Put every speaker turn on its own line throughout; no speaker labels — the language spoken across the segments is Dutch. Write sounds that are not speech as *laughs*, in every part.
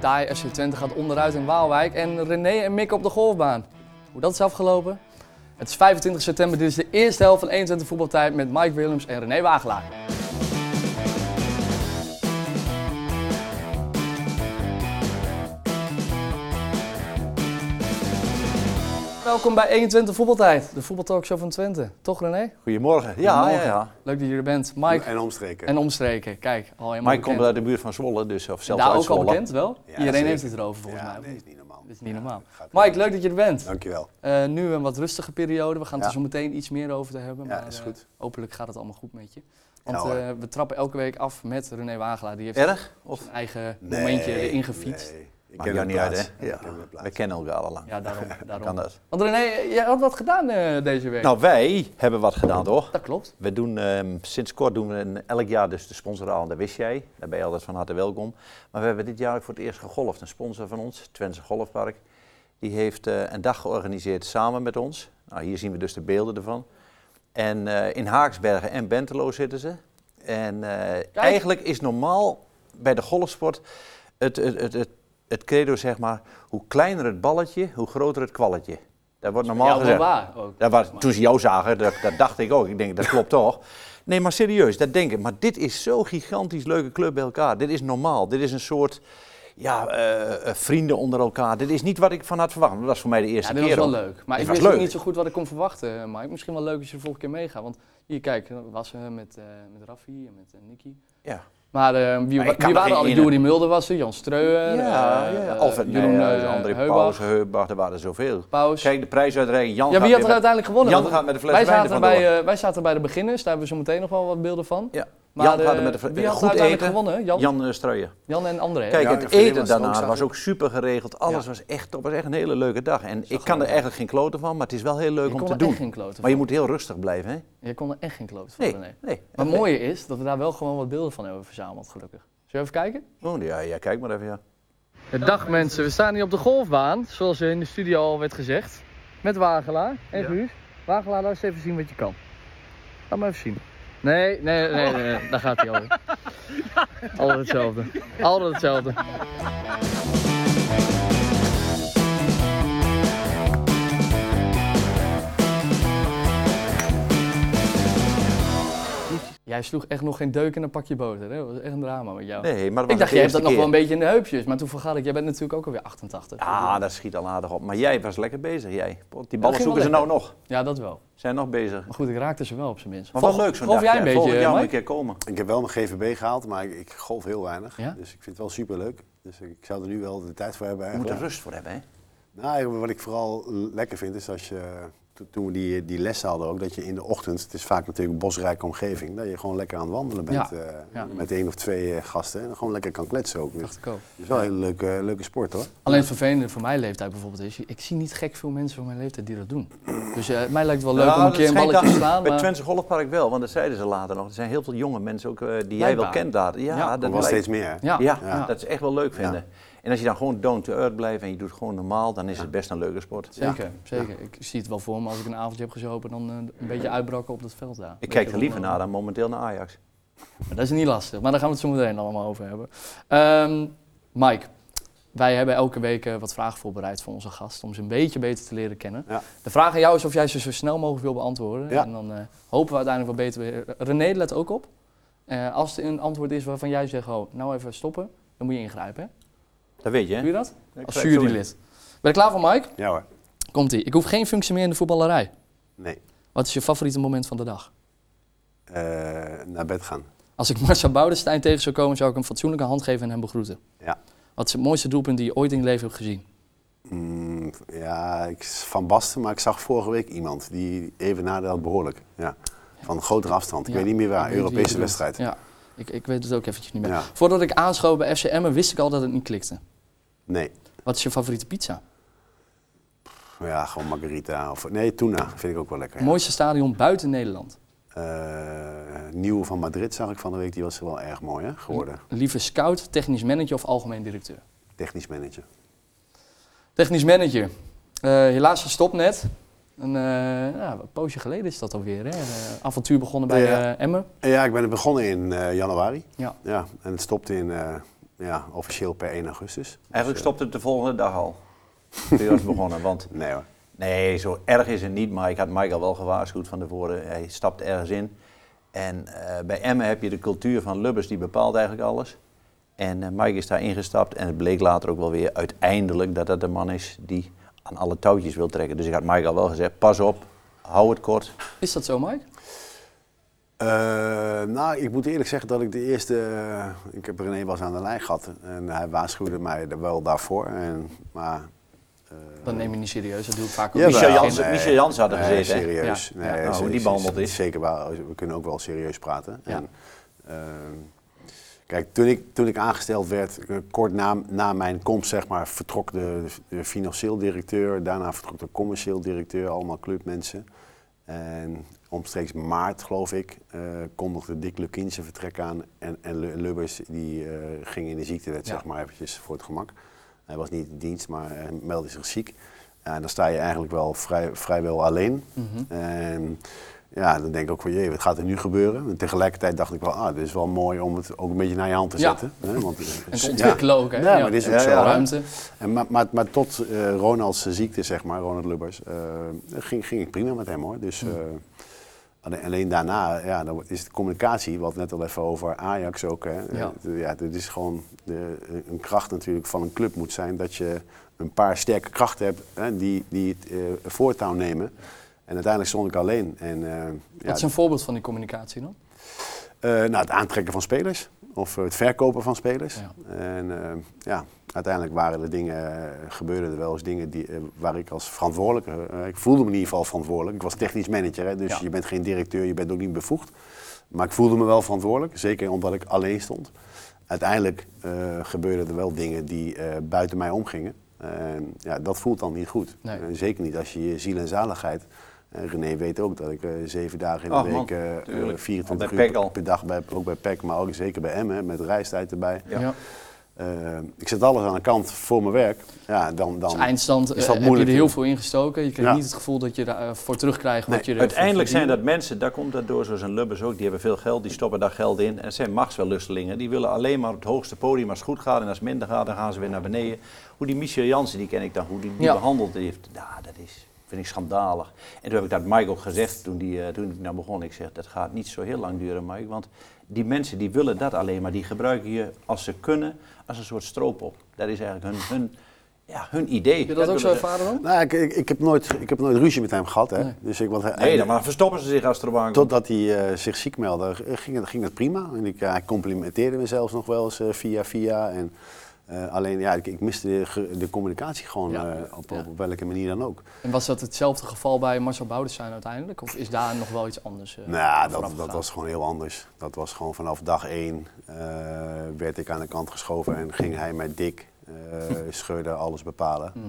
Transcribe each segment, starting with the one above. Thai FC Twente gaat onderuit in Waalwijk en René en Mick op de golfbaan. Hoe dat is afgelopen? Het is 25 september, dit is de eerste helft van 21 voetbaltijd met Mike Willems en René Wagelaar. Welkom bij 21 voetbaltijd, de voetbaltalkshow van Twente. Toch René?
Goedemorgen. Ja, ja,
Goedemorgen.
ja.
Leuk dat je er bent. Mike
En omstreken.
en omstreken. Kijk, al helemaal
Mike komt
bekend.
uit de buurt van Zwolle, dus of zelfs
Daar
uit
ook al
Zwolle.
bekend wel?
Ja,
Iedereen
zeker.
heeft het erover volgens
ja,
mij.
nee, is niet normaal.
Dit is niet normaal.
gaat wel.
Mike, leuk dat je er bent.
Dankjewel.
Eh, nu een wat rustige periode. We gaan het er
Ja.
zo meteen iets meer over te hebben.
Ja,
maar
is
eh,
goed.
hopelijk gaat het allemaal goed met je. Want
Nou,
Ja, hoor.
eh, we trappen elke week af met René Wagelaar. Die heeft
Erg? Of?
zijn eigen momentje erin gefietst.
Nee. Ik
Maakt
ken
jou
hem
niet uit,
plaats.
hè?
Ik ken hem plaats.
We kennen elkaar al lang.
Ja,
*laughs*
daarom.
Kan
daarom.
dat?
Want René, jij had wat gedaan eh, deze week.
Nou, wij hebben wat gedaan, toch?
Dat klopt.
We doen, ehm, sinds kort doen we een- elk jaar dus de sponsoraal, dat wist jij. Daar ben je altijd van harte welkom. Maar we hebben dit jaar ook voor het eerst gegolfd. Een sponsor van ons, Twentse Golfpark, die heeft eh, een dag georganiseerd samen met ons. Nou, hier zien we dus de beelden ervan. En eh, in Haaksbergen en Bentelo zitten ze. En eh, eigenlijk is normaal bij de golfsport het, het, het, het, het credo, zeg maar, hoe kleiner het balletje, hoe groter het kwalletje. Dat wordt normaal
ja, wel
gezegd.
waar ook.
Dat was, toen ze jou zagen, dat, dat dacht ik ook. Ik denk, dat klopt toch? Nee, maar serieus, dat denk ik. Maar dit is zo'n gigantisch leuke club bij elkaar. Dit is normaal. Dit is een soort ja, eh, eh, vrienden onder elkaar. Dit is niet wat ik van had verwacht. Dat was voor mij de
Ja,
eerste
dit was
keer.
wel
ook.
leuk. Maar ik
Dit was
wist ook
leuk.
niet zo goed wat ik kon verwachten, eh, Mike. Misschien wel leuk als je de volgende keer meegaat. Want hier, kijk, eh, was eh, met, eh met Raffi en met eh, Nicky.
Ja.
Maar eh, wie,
Maar ik
wa-
kan
wie
er
waren
geen
al?
ene.
Juri Mulder was er, Jan Streuer,
Ja,
eh,
ja.
eh,
Alfred
Jeroen
Nijhuis,
eh,
André
Heubach,
Pauws, Heubach, er waren zoveel.
Pauws.
Kijk, de prijsuitreiking. Jan
ja, wie
gaat
had er
weer met-
uiteindelijk gewonnen?
Jan
Want
gaat met de fles
wij
wijn er
zaten, bij,
vandoor.
eh, wij zaten bij de beginners, daar hebben we zo meteen nog wel wat beelden van.
Ja.
Maar,
Jan gaat
eh,
er met de fles
wie had er
goed
uiteindelijk
eten.
gewonnen? Jan, Jan.
Jan eh, Streuer.
en André.
Kijk,
Ja,
het
en
eten
voor Nederland was het
daarna
ook,
was
zag ik.
ook super geregeld. Alles
Ja.
was echt top. was echt een hele leuke dag. En ik
gewoon
kan er eigenlijk geen kloten van, maar het is wel heel leuk
je
om
kon
te
er
doen.
echt geen kloten
Maar
van.
je moet heel rustig blijven, hè?
Je kon er echt geen kloten van,
Nee,
René.
nee.
Maar het
mooi.
mooie is dat we daar wel gewoon wat beelden van hebben verzameld, gelukkig. Zullen we even kijken?
Oh, ja, ja, kijk maar even, ja.
Dag mensen, we staan hier op de golfbaan, zoals in de studio al werd gezegd. Met Wagelaar en Guus. Wagelaar, laat eens even zien wat je kan. Laat maar even zien. Nee, nee, nee, nee, nee, daar gaat hij al. Altijd hetzelfde. Altijd hetzelfde. Jij sloeg echt nog geen deuk in een pakje boter, hè? Dat was echt een drama met jou.
Nee, maar dat was
Ik dacht,
de
jij hebt
eerste
dat nog wel
keer.
een beetje in de heupjes, maar toen vergat ik, jij bent natuurlijk ook alweer 88.
Ah, dat schiet al aardig op. Maar jij was lekker bezig, jij.
Ja,
Pot, Die
dat
ballen
ging
zoeken ze
wel
nou nog.
Ja, dat wel.
Zijn nog bezig.
Maar goed, ik raakte ze wel op zijn minst.
Maar
Volg-
wel leuk zo'n
golf
dag.
jij een
ja. Volgend
beetje,
jaar moet een
Mike?
keer komen.
Ik heb wel mijn GVB gehaald, maar ik, ik golf heel weinig.
Ja?
Dus ik vind het wel superleuk. Dus ik, ik zou er nu wel de tijd voor hebben.
Je moet er
eigenlijk.
rust voor hebben, hè?
Nou, wat ik vooral lekker vind is als je, to- toen we die, die lessen hadden ook, dat je in de ochtend, het is vaak natuurlijk een bosrijke omgeving, dat je gewoon lekker aan het wandelen bent
Ja,
eh,
ja.
met één of twee eh, gasten en gewoon lekker kan kletsen ook. Dus
Dacht
het
ik ook.
is wel een hele leuke, leuke sport hoor.
Alleen het vervelende voor mijn leeftijd bijvoorbeeld is, ik zie niet gek veel mensen van mijn leeftijd die dat doen. Dus eh, mij lijkt het wel leuk
Nou,
om een
dat
keer een
schijnt
balletje te
dan
slaan,
Bij het
maar
Twentse Golfpark wel, want dat zeiden ze later nog. Er zijn heel veel jonge mensen ook, eh, die jij wel
Blijkbaar.
kent daar. Ja,
Ja,
Er
dat
was
lijkt-
steeds meer. hè?
ja,
Ja,
ja.
dat is echt wel leuk vinden. En als je dan gewoon down to earth blijft en je doet gewoon normaal, dan is het best een leuke sport.
zeker, zeker. Ik zie het wel voor me als ik een avondje heb gezopen dan eh, een beetje uitbrakken op dat veld daar.
Ik
Weet je
kijk er
wel,
liever
eh,
naar dan momenteel naar Ajax.
Maar dat is niet lastig, maar daar gaan we het zo meteen allemaal over hebben. Ehm, Mike, wij hebben elke week eh, wat vragen voorbereid voor onze gast om ze een beetje beter te leren kennen.
Ja.
De vraag aan jou is of jij ze zo snel mogelijk wil beantwoorden.
Ja.
En dan eh, hopen we uiteindelijk wel beter weer. René, let ook op. Eh, als er een antwoord is waarvan jij zegt, oh, nou even stoppen, dan moet je ingrijpen. Hè?
Dat weet je, hè?
Doe je dat?
Dat
Als
krijg je zo in.
jurylid. Ben je klaar voor Mike?
Ja hoor.
Komt-ie. Ik hoef geen functie meer in de voetballerij.
Nee.
Wat is je favoriete moment van de dag?
Eh, naar bed gaan.
Als ik *laughs* Marcel Boudestein tegen zou komen, zou ik hem fatsoenlijke hand geven en hem begroeten.
Ja.
Wat is het mooiste doelpunt die je ooit in je leven hebt gezien?
Mm, ja, ik, van Basten, maar ik zag vorige week iemand die even nadeelt behoorlijk. Ja. Van grotere afstand. Ik
Ja,
weet niet meer waar.
ik weet wie je
Europese
bedoelt.
wedstrijd.
Ja, ik, ik weet het ook eventjes niet meer.
Ja.
Voordat ik aanschoof bij FC Emmen wist ik al dat het niet klikte.
Nee.
Wat is je favoriete pizza?
Ja, gewoon margarita. Of, nee, tuna vind ik ook wel lekker. ja.
Mooiste stadion buiten Nederland.
Eh, nieuw van Madrid zag ik van de week. Die was wel erg mooi hè, geworden.
Lieve scout, technisch manager of algemeen directeur?
Technisch manager.
Technisch manager. Eh, helaas gestopt net. Een, eh, ja, een poosje geleden is dat alweer. Hè? Eh, avontuur begonnen bij
Ja.
eh, Emmen.
Eh, Ja, ik ben er begonnen in eh, januari.
Ja.
Ja, en het stopte in eh, ja, officieel per 1 augustus.
Eigenlijk stopte het de volgende dag al. Toen je was begonnen, want
Nee hoor.
nee, zo erg is het niet. Maar ik had Michael wel gewaarschuwd van tevoren. Hij stapt ergens in. En eh, bij Emmen heb je de cultuur van Lubbers, die bepaalt eigenlijk alles. En eh, Mike is daar ingestapt en het bleek later ook wel weer uiteindelijk dat dat de man is die aan alle touwtjes wil trekken. Dus ik had Michael wel gezegd, pas op, hou het kort.
Is dat zo, Mike?
Eh, nou, ik moet eerlijk zeggen dat ik de eerste. eh, ik heb René wel eens aan de lijn gehad en hij waarschuwde mij er wel daarvoor. En, maar. eh,
Dat neem je niet serieus, dat doe ik vaak ook.
jawel,
niet.
Michel Jansen- Michel Jansen had er
nee,
gezeten, hè?
Serieus.
Ja.
Nee,
Ja.
Oh,
is-
hoe die
is-
behandeld
is
is.
Zeker waar. We kunnen ook wel serieus praten.
Ja.
En, ehm, kijk, toen ik, toen ik aangesteld werd, eh, kort na, na mijn komst, zeg maar, vertrok de, de financieel directeur. Daarna vertrok de commercieel directeur, allemaal clubmensen. En omstreeks maart, geloof ik, eh, kondigde Dick Lukien zijn vertrek aan. En, en Lu- Lubbers, die eh, ging in de ziektewet,
Ja.
zeg maar, eventjes voor het gemak. Hij was niet in dienst, maar eh, meldde zich ziek. En dan sta je eigenlijk wel vrij, vrijwel alleen.
Mhm.
En Ehm, ja, dan denk ik ook van jee, wat gaat er nu gebeuren? En tegelijkertijd dacht ik wel, ah, dit is wel mooi om het ook een beetje naar je hand te
Ja.
zetten. Hè? Want, eh,
En te ontwikkelen ook, hè?
Dus Ja, maar dit is ook
Ja,
zo.
ja,
hè?
Ruimte.
En, maar, maar, maar tot eh, Ronald's ziekte, zeg maar, Ronald Lubbers, eh, ging, ging het prima met hem hoor. Dus, eh, alleen, alleen daarna ja, dan is de communicatie, wat net al even over Ajax ook. Hè,
Ja.
Eh, ja, dit is gewoon de, een kracht natuurlijk van een club moet zijn dat je een paar sterke krachten hebt hè, die, die het eh, voortouw nemen. En uiteindelijk stond ik alleen. En, eh, ja,
Wat is een voorbeeld van die communicatie dan?
eh, nou, het aantrekken van spelers of eh, het verkopen van spelers.
Ja.
En eh, ja, uiteindelijk waren er dingen, eh, gebeurden er wel eens dingen die, eh, waar ik als verantwoordelijke, eh, ik voelde me in ieder geval verantwoordelijk. Ik was technisch manager, hè, dus
Ja.
je bent geen directeur, je bent ook niet bevoegd. Maar ik voelde me wel verantwoordelijk, zeker omdat ik alleen stond. Uiteindelijk eh, gebeurden er wel dingen die eh, buiten mij omgingen. En ja, dat voelt dan niet goed.
Nee.
Eh, zeker niet als je je ziel en zaligheid. en René weet ook dat ik eh, zeven dagen in de
Ach, man,
week eh, eh,
tuurlijk.
24
Al bij
uur
PEC al.
per, per dag, bij, ook bij PEC, maar ook zeker bij Emmen, hè, met reistijd erbij.
Ja.
Ja.
Eh, ik zet alles aan de kant voor mijn werk. Ja, dan, dan,
Als eindstand eh,
is dat
heb je
moeilijk,
er heel
joh.
veel in gestoken. Je krijgt
Ja.
niet het gevoel dat je daarvoor terugkrijgt wat
Nee,
je ervoor
Uiteindelijk zijn
verdient.
dat mensen, daar komt dat door, zoals een Lubbers ook, die hebben veel geld, die stoppen daar geld in. En het zijn machtswellustelingen, die willen alleen maar op het hoogste podium als het goed gaat. En als het minder gaat, dan gaan ze weer naar beneden. Hoe die Michel Jansen, die ken ik dan, hoe die, die
Ja.
behandeld heeft, nou, dat is, vind ik schandalig. En toen heb ik dat Mike ook gezegd, toen, die, eh, toen ik nou begon, ik zeg, dat gaat niet zo heel lang duren, Mike. Want die mensen die willen dat alleen maar, die gebruiken je als ze kunnen, als een soort stroop op. Dat is eigenlijk hun, hun, ja, hun idee.
Heb je dat ook zo
willen ze-
ervaren dan?
nou, ik, ik, ik heb nooit, ik heb nooit ruzie met hem gehad. Hè.
Nee.
Dus ik, want hij-
Nee, dan maar verstoppen ze zich als er bang
Totdat hij eh, zich ziek meldde, eh, ging, het- ging dat prima. En ik, ja, hij complimenteerde me zelfs nog wel eens eh, via via. En, eh, alleen, ja, ik, ik miste de, ge- de communicatie gewoon
Ja.
eh, op,
Ja.
op welke manier dan ook.
En was dat hetzelfde geval bij Marcel Boudewijn uiteindelijk? Of is daar nog wel iets anders? eh,
Nou, dat,
vooraf
dat
gegaan?
was gewoon heel anders. Dat was gewoon vanaf dag één eh, werd ik aan de kant geschoven en ging hij mij dik
*laughs*
eh scheurde alles bepalen.
Hmm.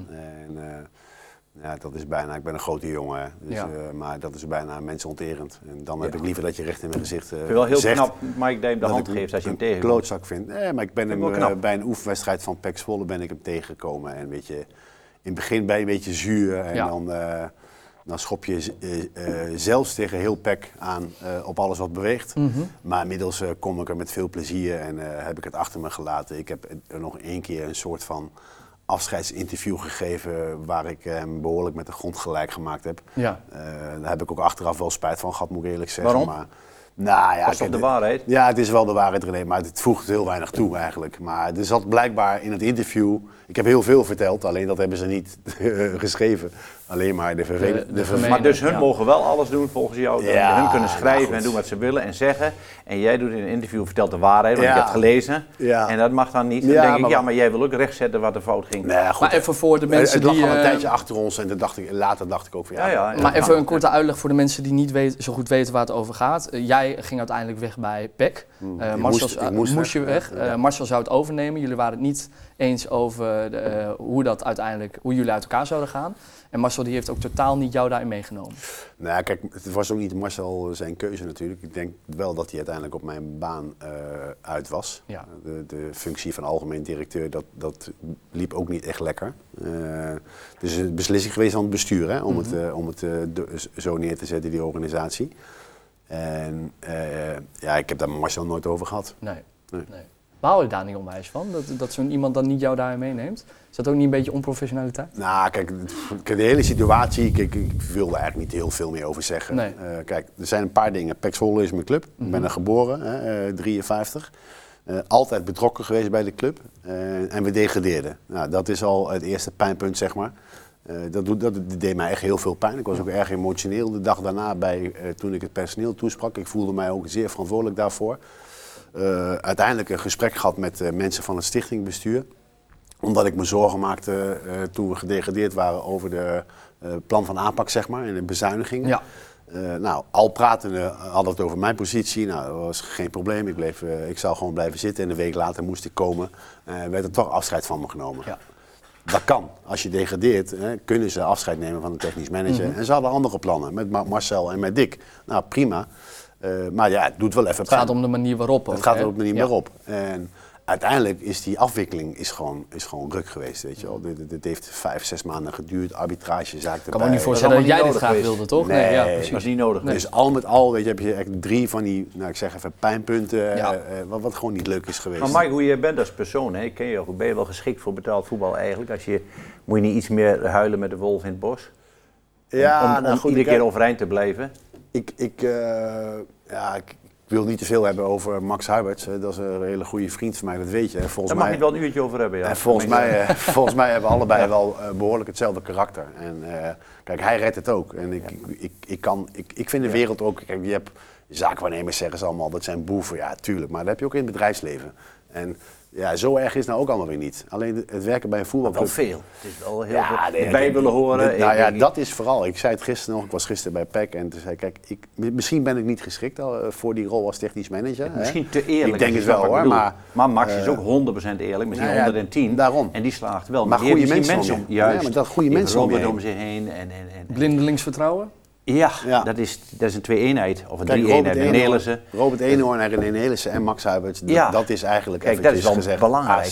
Mm.
En eh, ja, dat is bijna, ik ben een grote jongen, hè. dus,
Ja.
eh, maar dat is bijna mensonterend. En dan heb
Ja.
ik liever dat je recht in mijn gezicht eh
Ik vind het wel heel
zegt
knap Mike Dijm de
dat
hand
ik
geeft als je hem
een
tegenkomt.
klootzak vind. Nee, maar ik ben
Vind
hem
ik wel
eh,
knap.
bij een oefenwedstrijd van Pek Zwolle ben ik hem tegengekomen. En weet je, in het begin ben je een beetje zuur en
Ja.
dan, eh, dan schop je z- eh, eh, zelfs tegen heel Pek aan eh, op alles wat beweegt.
Mhm.
Maar inmiddels eh, kom ik er met veel plezier en eh, heb ik het achter me gelaten. Ik heb er nog één keer een soort van afscheidsinterview gegeven waar ik hem behoorlijk met de grond gelijk gemaakt heb.
Ja.
Eh, daar heb ik ook achteraf wel spijt van gehad, moet ik eerlijk zeggen.
Waarom?
Maar, nou ja,
Dat is toch
kijk,
de waarheid?
ja, het is wel de waarheid, René, maar het voegt heel weinig toe eigenlijk. Maar er zat blijkbaar in het interview. Ik heb heel veel verteld, alleen dat hebben ze niet *laughs* eh, geschreven. Alleen maar de
De-
vervelende.
de
De, verve-
gemene-
Maar dus hun
Ja.
mogen wel alles doen volgens jou.
Ja,
hun kunnen schrijven
nou
en
goed.
doen wat ze willen en zeggen. En jij doet in een interview, vertelt de waarheid, want
Ja.
ik heb het gelezen.
Ja.
En dat mag dan niet. Dan
Ja,
denk ik,
maar-
ja, maar jij wil ook rechtzetten wat er fout ging.
Nee, Nou goed.
Maar even voor de mensen
het lag
die...
al een
eh,
tijdje achter ons en toen dacht ik, later dacht ik ook van Ah, ja.
Ja, ja,
dat
ja.
maar
kan.
even een korte uitleg voor de mensen die niet weet, zo goed weten waar het over gaat. Eh, jij ging uiteindelijk weg bij PEC. Eh,
Hmm. ik
Marcel
moest- ik
eh,
moest
je
weg,
weg.
ja, ja.
Eh, Marcel zou het overnemen. Jullie waren het niet eens over de, eh, hoe, dat uiteindelijk, hoe jullie uit elkaar zouden gaan. En Marcel die heeft ook totaal niet jou daarin meegenomen.
Nou, ja, kijk, het was ook niet Marcel zijn keuze natuurlijk. Ik denk wel dat hij uiteindelijk op mijn baan eh, uit was.
Ja.
De, de functie van algemeen directeur, dat, dat liep ook niet echt lekker. Eh, dus het is een beslissing geweest van het bestuur hè, om het, eh, om het eh, do- zo neer te zetten, die organisatie. En eh, ja, ik heb daar met Marcel nooit over gehad.
Nee.
Nee.
nee. Baal je daar niet onwijs van? Dat, dat zo'n iemand dan niet jou daarin meeneemt? Is dat ook niet een beetje onprofessionaliteit?
Nou, kijk, pff, kijk, de hele situatie, kijk, ik wil daar eigenlijk niet heel veel meer over zeggen.
Nee.
Eh, kijk, er zijn een paar dingen. Pax Zwolle is mijn club. Ik ben er geboren, hè, eh, 53. Eh, altijd betrokken geweest bij de club. Eh, en we degradeerden. Nou, dat is al het eerste pijnpunt, zeg maar. Eh, dat, doet, dat deed mij echt heel veel pijn. Ik was ook erg emotioneel de dag daarna bij, eh, toen ik het personeel toesprak. Ik voelde mij ook zeer verantwoordelijk daarvoor. Eh, uiteindelijk een gesprek gehad met eh, mensen van het stichtingbestuur omdat ik me zorgen maakte eh, toen we gedegradeerd waren over de eh, plan van aanpak, zeg maar, en de bezuinigingen.
Ja.
Eh, nou, al pratende hadden het over mijn positie. Nou, dat was geen probleem. Ik, bleef, eh, ik zou gewoon blijven zitten. En een week later moest ik komen. eh, werd er toch afscheid van me genomen.
Ja.
Dat kan. Als je degradeert, hè, kunnen ze afscheid nemen van de technisch manager.
Mhm.
En ze hadden andere plannen met Ma- Marcel en met Dick. Nou, prima. Eh, maar ja, het doet wel even
Het gaat
pijn.
om de manier waarop.
Het
ook,
gaat
hè?
er op een manier
Ja.
meer op. En uiteindelijk is die afwikkeling is gewoon, is gewoon ruk geweest, weet je wel. Dit, dit- dit heeft vijf, zes maanden geduurd, arbitragezaak erbij.
Ik kan me ook niet voorstellen
allemaal
dat
niet
jij dit
nodig
graag
geweest.
wilde, toch?
Nee.
ja,
Dat
precies.
was niet nodig.
Dus al met al weet je, heb je echt drie van die, nou ik zeg even, pijnpunten,
Ja.
eh, eh, wat, wat gewoon niet leuk is geweest.
Maar Mike, hoe je bent als persoon, hè? ik ken je, ook. ben je wel geschikt voor betaald voetbal eigenlijk? Als je, moet je niet iets meer huilen met de wolf in het bos? om om
nou, goed,
iedere
ik-
keer overeind te blijven?
Ik, ik, eh, ja, ik, ik wil niet te veel hebben over Max Huiberts. hè. Dat is een hele goede vriend van mij, dat weet je. En Volgens
Daar mag
mij...
je wel een uurtje over hebben, ja.
En volgens
Tenminste. *laughs*
mij, eh, volgens mij hebben we allebei wel eh, behoorlijk hetzelfde karakter. En eh, kijk, hij redt het ook. En ik, ik, ik, ik kan, ik, ik vind de wereld ook. Kijk, je hebt zaakwaarnemers zeggen ze allemaal dat zijn boeven. Ja, tuurlijk. Maar dat heb je ook in het bedrijfsleven. En ja, zo erg is het nou ook allemaal weer niet. Alleen het werken bij een
Wel
voetbalclub.
veel. Het is wel heel
Ja,
veel.
nee,
De bij
ik-
willen horen. eh,
dit- nou
ik-
ja,
ik-
dat is vooral. Ik zei het gisteren nog. Ik was gisteren bij PEC en toen zei ik, kijk, ik, mi- misschien ben ik niet geschikt al, eh, voor die rol als technisch manager. hè.
Misschien te eerlijk.
Ik denk
je
het
snapt
wel
wat ik
hoor,
bedoel.
maar... Eh,
maar Max is ook 100% eerlijk, misschien
nou ja,
110.
daarom.
En die slaagt wel.
Maar
die heeft
goede
misschien
mensen om je-
Juist.
Ja, maar dat goede
Die
mensen om je
rommelen
heen.
om zich heen. En, en, en,
Blindelings vertrouwen?
Ja,
Ja.
Dat, is, dat is een twee-eenheid. Of een
Kijk, Robert
drie-eenheid. Met
Eenhoorn,
Nelissen.
Robert Eenhoorn en René Nelissen en Max Huiberts, dat,
Ja.
dat is eigenlijk
Kijk, dat
eventjes
is wel
gezegd
belangrijk.
AZ.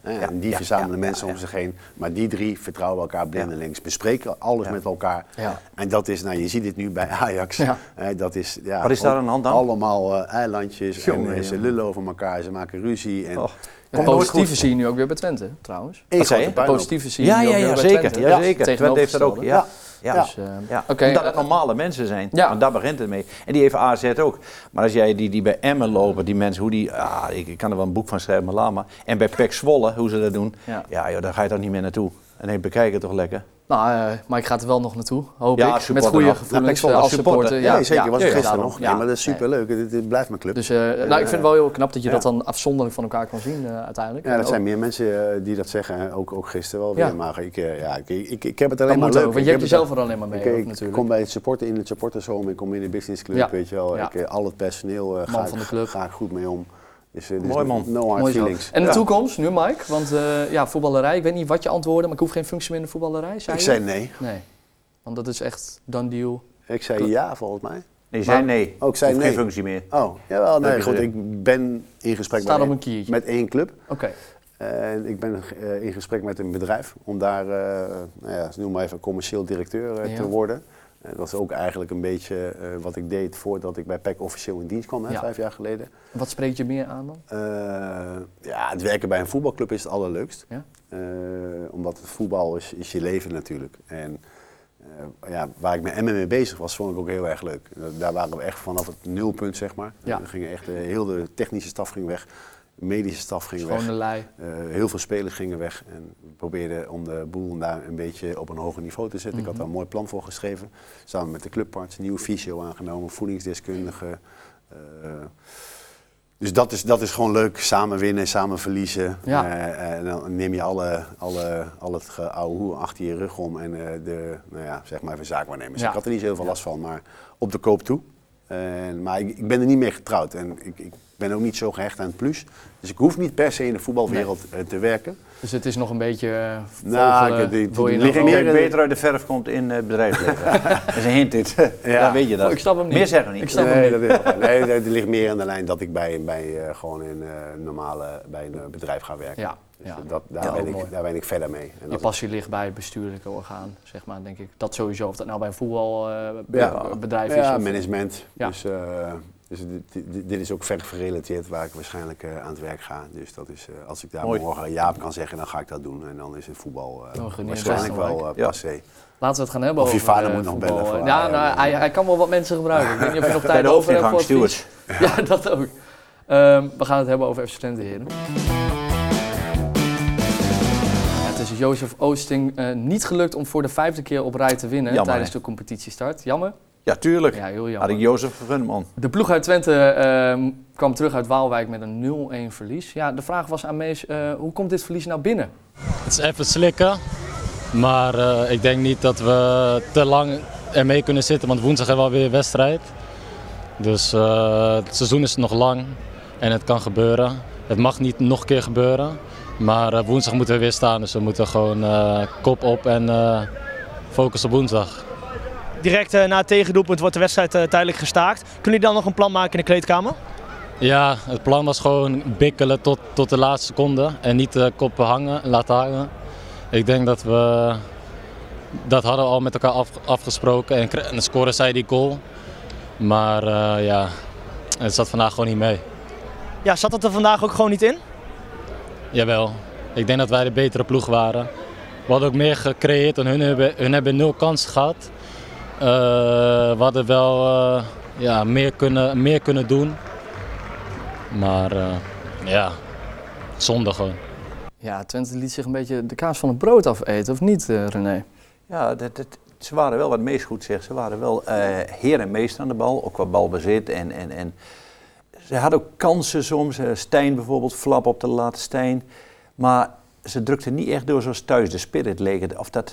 hè, en die
ja,
verzamelen
ja,
mensen
ja,
om zich heen. Maar die drie vertrouwen elkaar blindelings, bespreken alles met elkaar.
Ja.
En dat is, nou je ziet dit nu bij Ajax.
Ja.
hè, dat is, ja,
Wat is daar
ook
aan de hand dan?
Allemaal eh, eilandjes en
Jongen,
eh, ze
jongen.
lullen over elkaar, ze maken ruzie. En,
Och,
Het
komt nooit
positieve
goed.
zie je nu ook weer bij Twente, trouwens.
Eén
Wat zei
grote
je?
puinhoop.
Positieve zie je
Ja,
nu ook
ja,
weer
ja,
bij
zeker.
Twente.
Ja, zeker. Twente heeft dat
tegenovergestelde.
ook. Ja. Ja.
Ja.
Ja.
Dus, eh,
Ja,
oké,
omdat het
eh,
normale mensen zijn.
Ja.
Want daar begint het mee. En die heeft AZ ook. Maar als jij die, die bij Emmen lopen, die mensen, hoe die... Ah, ik, ik kan er wel een boek van schrijven, maar laat maar. En bij Pek Zwolle, hoe ze dat doen.
Ja.
Ja, joh, daar ga je toch niet meer naartoe. En nee, bekijk het toch lekker.
Nou, eh, maar ik ga er wel nog naartoe, hoop
Ja, als
ik. Met
supporter
goede
dan.
Nou, Pek
gevoelens
Zwolle
eh, als
als supporter.
supporter.
Ja, zeker. was het gisteren
daarom.
nog. Nee, maar dat is
Nee.
superleuk. Dit, dit blijft mijn club.
Dus eh, nou, ik vind het wel heel knap dat je dat dan afzonderlijk van elkaar kan zien eh, uiteindelijk.
Ja,
En
dat
ook-
zijn meer mensen eh, die dat zeggen, hè. ook, ook gisteren wel
Ja.
weer. Maar ik, eh, ja, ik, ik, ik heb het
dat
alleen maar
moet
leuk.
ook, want
Ik
je hebt
heb het
jezelf
al-
er alleen maar mee,
Ik,
ook
ik
natuurlijk.
kom bij het supporter, in het supportershome, ik kom in de businessclub,
Ja.
weet je wel.
Ja.
Ik, eh, al het personeel eh,
Man
ga,
van de
ik,
club.
ga ik goed mee om. Dus, eh, dus
Mooi, man.
No hard
Mooi zo.
feelings.
En de
Ja.
toekomst nu, Mike? Want eh, ja, voetballerij, ik weet niet wat je antwoordde, maar ik hoef geen functie meer in de voetballerij, zei
Ik
je?
zei nee.
Nee, want dat is echt done deal.
Ik zei ja, volgens mij.
Nee, zei nee.
Ook zei
Hoeft
nee.
geen functie meer.
Oh, jawel.
heb
Nee,
je
goed,
gezegd.
ik ben in gesprek
Staat
met,
op een kiertje.
met één club.
Oké,
En ik ben eh, in gesprek met een bedrijf om daar, eh, nou ja, noem maar even, commercieel directeur eh,
Ja.
te worden. Eh, dat is ook eigenlijk een beetje eh, wat ik deed voordat ik bij PEC officieel in dienst kwam, hè,
Ja.
vijf jaar geleden.
wat spreekt je meer aan dan?
Eh, ja, het werken bij een voetbalclub is het allerleukst.
Ja?
Eh, omdat het voetbal is, is je leven natuurlijk. En eh, ja, waar ik met Emmen mee bezig was, vond ik ook heel erg leuk. Eh, Daar waren we echt vanaf het nulpunt, zeg maar.
Ja.
We gingen echt, eh, heel de technische staf ging weg, de medische staf ging weg.
Schone lei.
Eh, heel veel spelers gingen weg en we probeerden om de boel daar een beetje op een hoger niveau te zetten. Ik had daar een mooi plan voor geschreven, samen met de clubarts, nieuwe fysio aangenomen, voedingsdeskundige. eh, dus dat is, dat is gewoon leuk, samen winnen, samen verliezen.
Ja.
Eh, en dan neem je alle, alle, al het geouwehoer achter je rug om en eh, de, nou ja, zeg maar even zaakwaarnemers.
Ja.
Ik had er niet zo heel veel last van, maar op de koop toe. En, maar ik, ik ben er niet mee getrouwd en ik, ik ben ook niet zo gehecht aan het plus. Dus ik hoef niet per se in de voetbalwereld eh, te werken.
Dus het is nog een beetje eh,
Nou,
vogelen,
ik- die-
wil je nou
die liggen
wel-
Kijk,
Meer-
beter uit de verf komt in eh, het
*laughs*
bedrijfsleven. dat is een hint dit. *laughs* Daar weet je dat.
Oh, ik snap hem niet.
Meer zeggen we niet.
Ik snap hem
nee,
niet.
dat is wel fijn. nee, dat ligt meer aan de lijn dat ik bij, bij eh, gewoon een eh, normale bij een eh, bedrijf ga werken.
Ja,
Dus
ja.
Dat, daar,
Ja, ook
ben
mooi.
ik, daar ben ik verder mee. En
Je
dat-
passie ligt bij het bestuurlijke orgaan, zeg maar, denk ik. Dat sowieso, of dat nou bij een voetbalbedrijf
Ja.
bedrijf is.
ja,
of-
management.
Ja.
Dus eh, Dus dit, dit- dit is ook ver gerelateerd waar ik waarschijnlijk eh, aan het werk ga. Dus dat is, eh, als ik daar
Mooi. Oh,
morgen aan Jaap kan zeggen, dan ga ik dat doen. En dan is het voetbal eh,
Dan geniet je
waarschijnlijk
best wel,
wel eh
Ja.
passé.
Laten we het gaan hebben
Of je
over,
vader
eh,
moet nog
voetbal.
bellen voor
Ja,
Ajax.
nou, hij, hij kan wel wat mensen gebruiken. Ik weet
*laughs*
niet of je nog tijd
de
over hebt
hoofdingang,
voor advies. *laughs* Ja, dat ook. Ehm, we gaan het hebben over FC Twente, heren. Ja, het is Jozef Oosting eh, niet gelukt om voor de vijfde keer op rij te winnen
Jammer,
tijdens
hè?
de competitiestart. Jammer?
Ja, tuurlijk.
Ja, heel
Had
jammer.
ik Jozef gegund, man.
De ploeg uit Twente ehm, kwam terug uit Waalwijk met een 0-1 verlies. Ja, de vraag was aan Mees, eh, hoe komt dit verlies nou binnen?
Het is even slikken. Maar eh, ik denk niet dat we te lang ermee kunnen zitten. Want woensdag hebben we alweer wedstrijd. Dus eh, het seizoen is nog lang. En het kan gebeuren. Het mag niet nog een keer gebeuren. Maar eh, woensdag moeten we weer staan. Dus we moeten gewoon eh, kop op en eh, focus op woensdag.
Direct eh, na het tegendoelpunt wordt de wedstrijd eh, tijdelijk gestaakt. Kunnen jullie dan nog een plan maken in de kleedkamer?
Ja, het plan was gewoon bikkelen tot, tot de laatste seconde. En niet de koppen hangen, laten hangen. Ik denk dat we. Dat hadden we al met elkaar af- afgesproken. En, kre- en de scoren zei die goal. Maar eh, ja, het zat vandaag gewoon niet mee.
Ja, zat het er vandaag ook gewoon niet in?
Jawel, ik denk dat wij de betere ploeg waren. We hadden ook meer gecreëerd en hun hebben, hun hebben nul kans gehad. Eh, we hadden wel eh, ja, meer, kunnen, meer kunnen doen. Maar eh, ja, zonde gewoon.
Ja, Twente liet zich een beetje de kaas van het brood afeten, of niet eh, René?
Ja, dat, dat- ze waren wel wat meest goed, zeg. Ze waren wel eh, heer en meester aan de bal, ook qua balbezit. En, en, en ze hadden ook kansen soms. Eh, Stijn bijvoorbeeld, flap op de laatste Stijn. Maar ze drukten niet echt door zoals thuis de spirit leek, het, of dat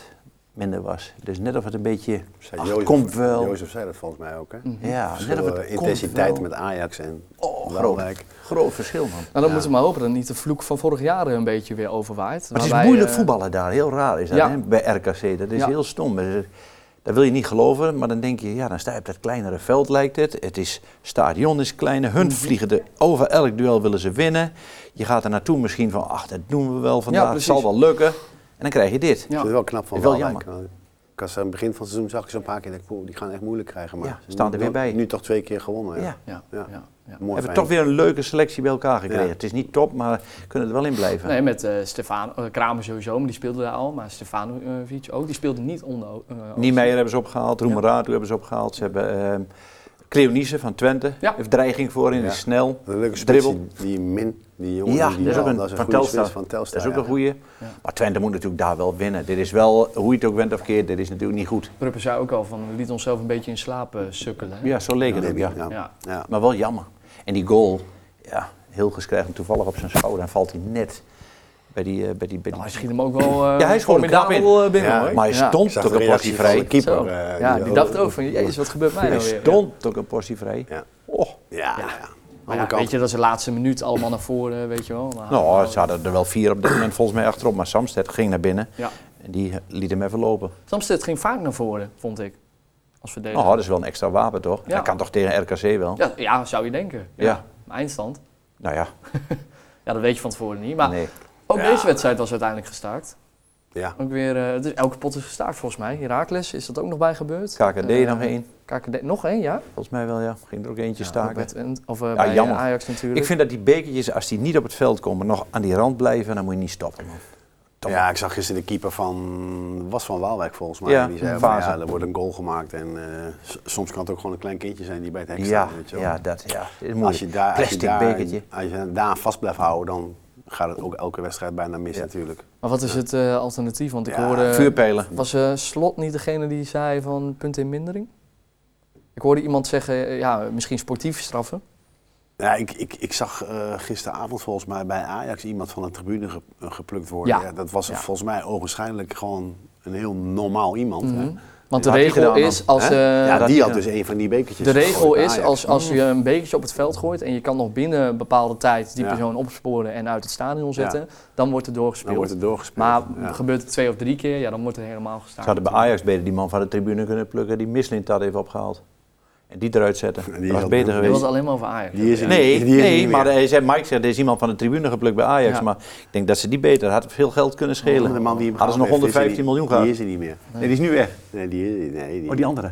minder was. Dus net of het een beetje,
Zei
ach,
Jozef-
komt wel.
Jozef zei dat volgens mij ook. Hè?
Ja, net
Verschil,
of het
eh,
komt
intensiteit
wel.
met Ajax en
Oh, groot,
Waalwijk.
groot verschil, man.
Nou, dan moeten we maar hopen dat niet de vloek van vorig jaar eh, een beetje weer overwaait.
Maar het is
Waarbij,
moeilijk
eh,
voetballen daar, heel raar is dat
Ja.
hè, bij RKC. Dat is
Ja.
heel stom. Dus, eh, Dat wil je niet geloven, maar dan denk je, ja, dan sta je op dat kleinere veld lijkt het. Het is, stadion is kleiner, hun
Mhm.
vliegen er over elk duel willen ze winnen. Je gaat er naartoe misschien van, ach, dat doen we wel vandaag, het
precies.
zal wel lukken. En dan krijg je dit.
Ja.
Dat is wel knap van
Is wel
Waalwijk. Ik had ze aan het begin van het seizoen zag ik ze een paar keer. dacht ik, "Oeh, die gaan echt moeilijk krijgen. Maar
Ja,
ze
staan er
nu-
weer bij.
Nu toch twee keer gewonnen.
Ja.
Ja, ja.
Ja.
ja,
Mooi
Hebben
fijn.
toch weer een leuke selectie bij elkaar gekregen.
Ja.
Het is niet top, maar kunnen er wel in blijven.
Nee, met eh Stefan, eh, Kramer sowieso, maar die speelde daar al. Maar Stefanovic ook, die speelde niet onder. eh,
Niemeyer hebben ze opgehaald, Roemerato hebben ze opgehaald. Ze hebben ehm Cleonice van Twente,
Ja.
heeft dreiging voor in,
Ja.
is snel,
Een leuke spits,
dribbel.
die, die Min, die jongen.
Ja,
die,
dat is ook een, van,
goede
Telstar.
spits van Telstar.
Dat is ook
ja.
een goeie. Maar Twente moet natuurlijk daar wel winnen. Dit is wel, hoe je het ook went of keert, dit is natuurlijk niet goed.
Pruppen zei ook al van, we lieten onszelf een beetje in slaap eh, sukkelen. hè.
Ja, zo leek het ook, ja.
Ja.
Ja.
Ja.
Maar wel jammer. En die goal, ja, heel krijgt hem toevallig op zijn schouder en valt hij net bij die... eh, bij die, bij die...
Nou, hij schiet hem ook wel eh
Ja, hij is gewoon een knap in.
formidabel, eh, binnen
Ja,
hoor.
Maar hij
Ja.
Ik
stond
zag
toch
de
een portie
reactie van de
vrij.
keeper.
Zo.
eh,
ja, die dacht ook van,
Ja,
jezus, wat gebeurt mij
Hij
nou weer?
stond ook een portie vrij.
Ja.
Oh,
ja.
Maar
Andere
ja,
kant.
weet je, dat is de laatste minuut allemaal naar voren, weet je wel. Maar-
nou, ze hadden er wel vier op dit moment volgens mij achterop. Maar Samsted ging naar binnen
Ja.
en die liet hem even lopen.
Samsted ging vaak naar voren, vond ik, als verdediger.
Nou, dat is wel een extra wapen toch?
Ja.
Dat kan toch tegen RKC wel?
Ja, ja, zou je denken. Ja.
Ja.
Maar Eindstand?
Nou ja,
Ja, dat weet je van tevoren niet. Maar
nee.
ook
Ja.
deze wedstrijd was uiteindelijk gestaakt.
Ja.
Ook weer, eh, het is, elke pot is gestaakt volgens mij. Herakles, is dat ook nog bij gebeurd?
KKD
Eh,
nog één.
KKD, nog één, ja?
Volgens mij wel, ja. Ging er ook eentje
Ja, ook
staken.
bij Twente- Of eh,
Ja,
bij
jammer.
eh, Ajax natuurlijk.
Ik vind dat die bekertjes, als die niet op het veld komen, nog aan die rand blijven, dan moet je niet stoppen. Man. Toch?
Ja, ik zag gisteren de keeper van, was van Waalwijk volgens mij.
Ja,
die zei,
een
van,
fase.
ja, er wordt een goal gemaakt. En eh, s- soms kan het ook gewoon een klein kindje zijn die bij het hek
Ja,
staat. Weet je wel.
ja, dat ja. Dit moet
als je daar, als je
plastic
daar,
bekertje.
als je daar aan vast blijft houden, dan gaat het ook elke wedstrijd bijna mis natuurlijk.
Maar wat is het eh, alternatief? Want ik
Ja,
hoorde...
Vuurpijlen.
Was eh, Slot niet degene die zei van punt in mindering? Ik hoorde iemand zeggen, eh, ja, misschien sportief straffen.
Ja, ik, ik, ik zag eh, gisteravond volgens mij bij Ajax iemand van de tribune ge- eh, geplukt worden.
Ja.
Ja. dat was
Ja.
volgens mij ogenschijnlijk gewoon een heel normaal iemand. hè.
Mhm. Want de
Wat had hij
regel
gedaan
is,
dan,
als,
hè?
eh,
Ja,
dat
die
is-
had dus een van die bekertjes.
de regel
gegooid Ah, bij
is
Ajax.
als, als je een bekertje op het veld gooit en je kan nog binnen een bepaalde tijd die
Ja.
persoon opsporen en uit het stadion
Ja.
zetten, dan wordt er
Dan
doorgespeeld.
wordt het doorgespeeld.
maar
ja.
gebeurt het twee of drie keer, ja, dan wordt er helemaal
Ze
gestaakt.
hadden bij Ajax beter die man van de tribune kunnen plukken, die Mislint had even opgehaald. En die eruit zetten.
die
dat
is
was
al-
beter
die
Dit was
geweest.
alleen maar over Ajax.
Die is er
Nee,
niet- die is er niet
nee
meer.
maar hij zei, Mike zegt, er is iemand van de tribune geplukt bij Ajax.
Ja.
Maar ik denk dat ze die beter had veel geld kunnen schelen.
De man die hem
Hadden ze nog
gehaald heeft,
115
is er niet-
miljoen gehad.
Die is er niet meer.
Nee, die is nu weg.
Nee, die is, nee, die,
Oh, die andere.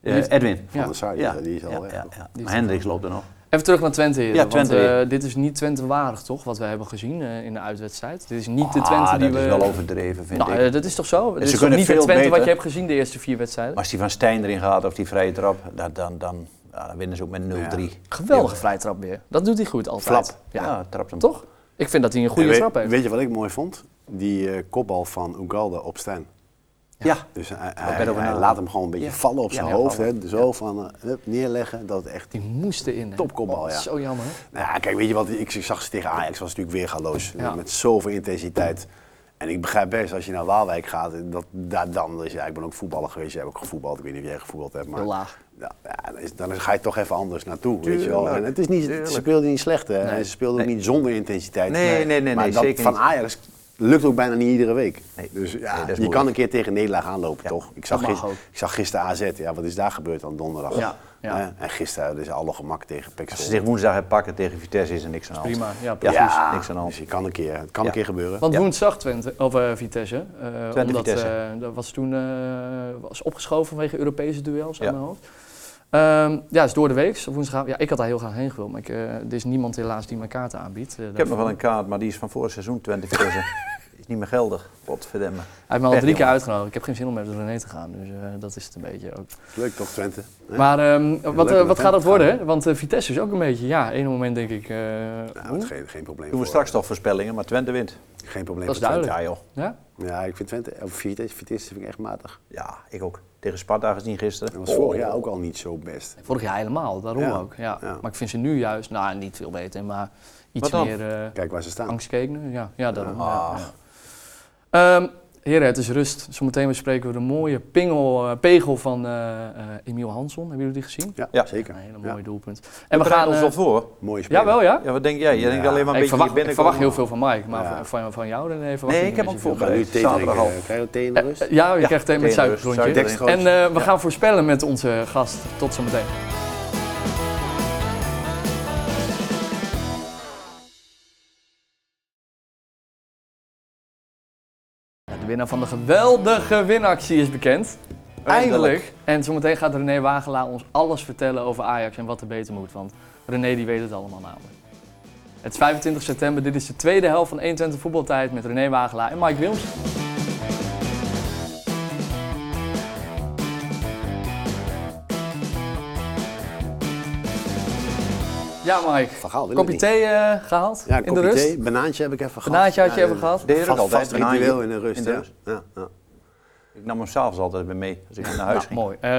Eh, Edwin.
Van
Ja.
de site,
Ja.
die is al
Ja,
weg.
ja, ja.
Die is
Maar Hendricks loopt er nog.
Even terug naar Twente. heren,
Ja,
want,
Twente weer.
eh, dit is niet Twente waardig, toch? Wat we hebben gezien eh, in de uitwedstrijd. Dit is niet de
Ah,
Twente die
dat
we.
is wel overdreven, vind
nou,
ik.
eh, dat is toch zo? Dit
ze
is toch
kunnen
niet de
veel
Twente wat
beter.
je hebt gezien de eerste vier wedstrijden.
Maar als die van Stijn erin gaat of die vrije trap, dan, dan, dan, ja, dan winnen ze ook met 0-3.
Geweldige vrijtrap weer. Dat doet hij goed altijd.
Flap. Ja,
Ja.
trapt hem.
Toch? Ik vind dat hij een
En
goede
weet-
trap heeft.
Weet je wat ik mooi vond? Die eh, kopbal van Ugalde op Stijn.
Ja.
Dus hij, hij-
ben ook
hij
een-
laat hem gewoon een beetje
Ja.
vallen op
Ja,
zijn
ja,
hoofd.
vallen.
Hè. Zo van eh, hup, neerleggen dat het echt
Die moest erin. hè?
Topkopbal,
Oh,
ja.
Zo jammer. hè?
Nou ja, kijk, weet je wat? Ik zag ze tegen Ajax, was natuurlijk weergaloos.
Ja.
Met zoveel intensiteit. En ik begrijp best, als je naar Waalwijk gaat, dat, daar dan is, ja, ik ben ook voetballer geweest, jij hebt ook gevoetbald, ik weet niet of jij gevoetbald hebt, maar
Heel laag.
Ja, ja, dan, is, dan ga je toch even anders naartoe, weet je wel. En het is niet,
Tuurlijk.
ze speelden niet slecht, hè. En ze speelden ook
Nee.
niet zonder intensiteit.
Nee, nee, nee, nee,
maar dat
zeker
van
niet.
Ajax lukt ook bijna niet iedere week.
Nee.
Dus
Nee,
ja,
dat is
je
moeilijk.
kan een keer tegen Nederlaag aanlopen,
Ja,
toch? Ik zag,
dat mag
gisteren,
ook.
ik zag gisteren AZ, ja, wat is daar gebeurd dan donderdag?
Ja, ja.
Hè? En gisteren hadden ze alle gemak tegen PEC
Als ze
Zwolle.
zich woensdag hebben pakken tegen Vitesse is er niks aan de hand.
Prima. Ja, precies.
Ja, niks aan de hand.
Dus je kan een keer, het kan
Ja.
een keer gebeuren.
Want
Ja.
woensdag Twente, of eh, Vitesse. eh, omdat,
Vitesse.
eh, dat was toen eh, was opgeschoven vanwege Europese duels
Ja.
aan de hoofd. Ehm, ja, is door de week. Woensdag, ja, ik had daar heel graag heen gewild, maar ik, eh, er is niemand helaas die mijn kaarten aanbiedt. eh,
Ik heb nog
daarvoor.
wel een kaart, maar die is van vorig seizoen, 20 *laughs* Is niet meer geldig. Potverdemme.
Hij heeft me al
Pech,
drie keer
jongen.
uitgenodigd. Ik heb geen zin om met René te gaan, dus eh, dat is het een beetje ook.
Leuk toch, Twente? Hè?
Maar ehm, wat, eh,
dat
wat
het
gaat dat
gaat.
worden? hè? Want eh, Vitesse is ook een beetje, ja, één moment denk ik. eh,
Nou,
hoe?
dat is geen, geen
Doen
probleem.
we
voor-
straks toch voorspellingen, maar Twente wint.
Geen probleem.
Dat is
voor Twente.
duidelijk.
Ja joh.
ja?
Ja, ik vind Twente, of Vitesse, Vitesse vind ik echt matig.
Ja, ik ook. Tegen Sparta gezien gisteren.
Dat was
Oh.
vorig jaar ook al niet zo best.
Vorig jaar helemaal, daarom
Ja,
ook. Ja.
ja.
Maar ik vind ze nu juist, nou niet veel beter, maar iets
Wat dan?
meer eh
Kijk waar ze staan.
angstkeek nu. Ja, ja daarom. Ja,
Ah.
ja. Ehm, heren, het is rust. Zometeen bespreken we de mooie pingel, eh, pegel van eh, eh, Emiel Hansson. Hebben jullie die gezien?
Ja,
Ja.
zeker.
Een hele
Ja.
mooi doelpunt.
En we gaan ons
eh,
wel voor.
Mooie speler.
Jawel, ja?
Ja, wat denk jij? Je denkt
Ja.
alleen maar een
ik
beetje
verwacht,
hier
ik verwacht heel
binnenkomen.
veel van Mike, maar
Ja.
v- van, van jou dan even.
Nee, ik heb ook
We gaan nu thee
Zaterdag
drinken.
al.
Krijg je thee in de rust?
Ja, je krijgt thee met
thee in de rust,
suikerklontje.
suiker.
Dextrose.
En eh, we gaan voorspellen met onze gast. Tot zometeen. Ja, De winnaar van de geweldige winactie is bekend. Eindelijk.
Eindelijk.
En zometeen gaat René Wagelaar ons alles vertellen over Ajax en wat er beter moet. Want René die weet het allemaal namelijk. Het is 25 september, dit is de tweede helft van 21 voetbaltijd met René Wagelaar en Mike Wilms. Ja, Mike.
Van Gaal, wil het
Kopje
niet.
thee eh, gehaald
Ja,
in de
kopje
rust.
thee. Banaantje heb ik even gehad.
Banaantje had je
Ja,
even gehad?
Deed je dat
Vast,
altijd,
vast
banaantje?
ritueel in de rust,
In de
ja.
rust.
Ja, ja.
Ik nam hem s'avonds altijd weer mee als ik naar
Nou,
huis ging.
mooi. Eh,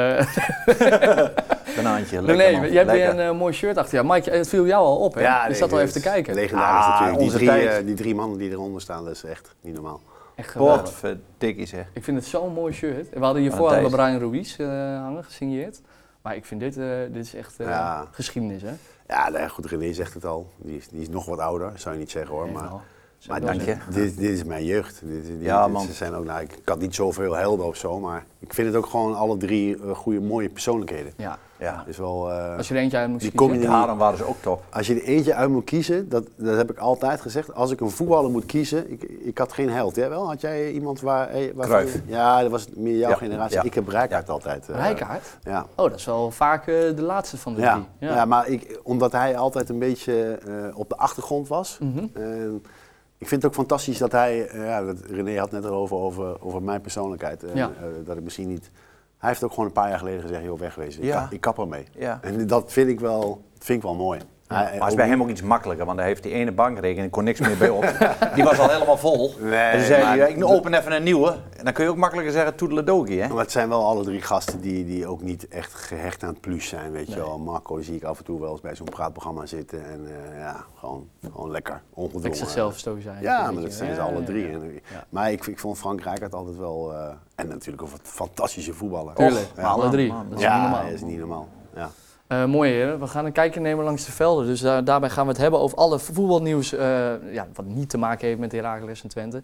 Banaantje,
*laughs*
lekker
René,
man.
jij hebt weer
Lekker.
een eh, mooi shirt achter jou. Mike, het viel jou al op, hè?
Ja,
je
nee,
zat al
het
even te
is
kijken.
Legendarisch
Ah,
natuurlijk. Die
onze
drie,
tijd.
eh, die drie mannen die eronder staan, dat is echt niet normaal.
Echt geweldig.
Potverdikkie zeg.
Ik vind het zo'n mooi shirt. We hadden hiervoor
Wat een
hadden we Brian Ruiz eh, hangen, gesigneerd. Maar ik vind dit, eh, dit is echt eh,
Ja.
geschiedenis, hè?
Ja, nou ja, goed, René zegt het al. Die is, die is nog wat ouder, zou je niet zeggen hoor.
Echt
Maar,
wel.
maar
Zou ik
dit-
wel
Dit, dit is mijn jeugd. Dit, dit-
Ja,
dit-
man.
Ze zijn ook, nou, ik, ik had niet zoveel helden of zo, maar ik vind het ook gewoon alle drie eh, goede, mooie persoonlijkheden.
zeggen. Ja.
Ja.
Dus wel, eh,
Als je er eentje uit moet
Die
kiezen.
combina-
De haren waren ze ook top.
Als je er eentje uit moet kiezen, dat, dat heb ik altijd gezegd. Als ik een voetballer moet kiezen, ik, ik had geen held. Jij wel? Had jij iemand waar... eh, waarvan
Cruijff.
je- ja, dat was meer jouw
Ja,
generatie.
ja.
Ik heb Rijkaard altijd. eh,
Rijkaard?
Ja.
Oh, dat is wel vaak eh, de laatste van de
Ja.
drie.
Ja. maar ik, omdat hij altijd een beetje eh, op de achtergrond was.
Mhm.
En ik vind het ook fantastisch dat hij... eh, ja, dat, René had net erover over, over mijn persoonlijkheid. eh,
Ja.
eh, dat ik misschien niet... Hij heeft ook gewoon een paar jaar geleden gezegd, joh, wegwezen. Ik,
Ja.
ka- ik kap ermee.
Ja.
En dat vind ik wel, vind ik wel mooi. Hij-
Maar het is
ook-
bij hem ook iets makkelijker, want hij heeft die ene bankrekening, kon niks meer bij op. Die was al helemaal vol.
Nee,
en toen zei
maar-
hij, ja, ik open even een nieuwe. En dan kun je ook makkelijker zeggen toedeledokie, hè?
Maar het zijn wel alle drie gasten die, die ook niet echt gehecht aan het plus zijn, weet je wel. Marco zie ik af en toe wel eens bij zo'n praatprogramma zitten en eh, ja, gewoon, gewoon lekker, eh. ongedwongen.
Ik zichzelf stoïcijns.
Ja, maar
Weet
dat
je.
zijn ze
Ja,
alle
ja,
drie.
ja.
En, eh, Maar ik, ik vond Frank Rijkaard altijd wel, eh, en natuurlijk een fantastische voetballer.
Tuurlijk,
Och,
maar
ja.
alle drie.
man,
Dat is niet
ja,
normaal.
dat is niet normaal. Ja.
Eh, mooi heren, we gaan een kijkje nemen langs de velden. Dus daar- daarbij gaan we het hebben over alle voetbalnieuws eh, ja, wat niet te maken heeft met Heracles en Twente.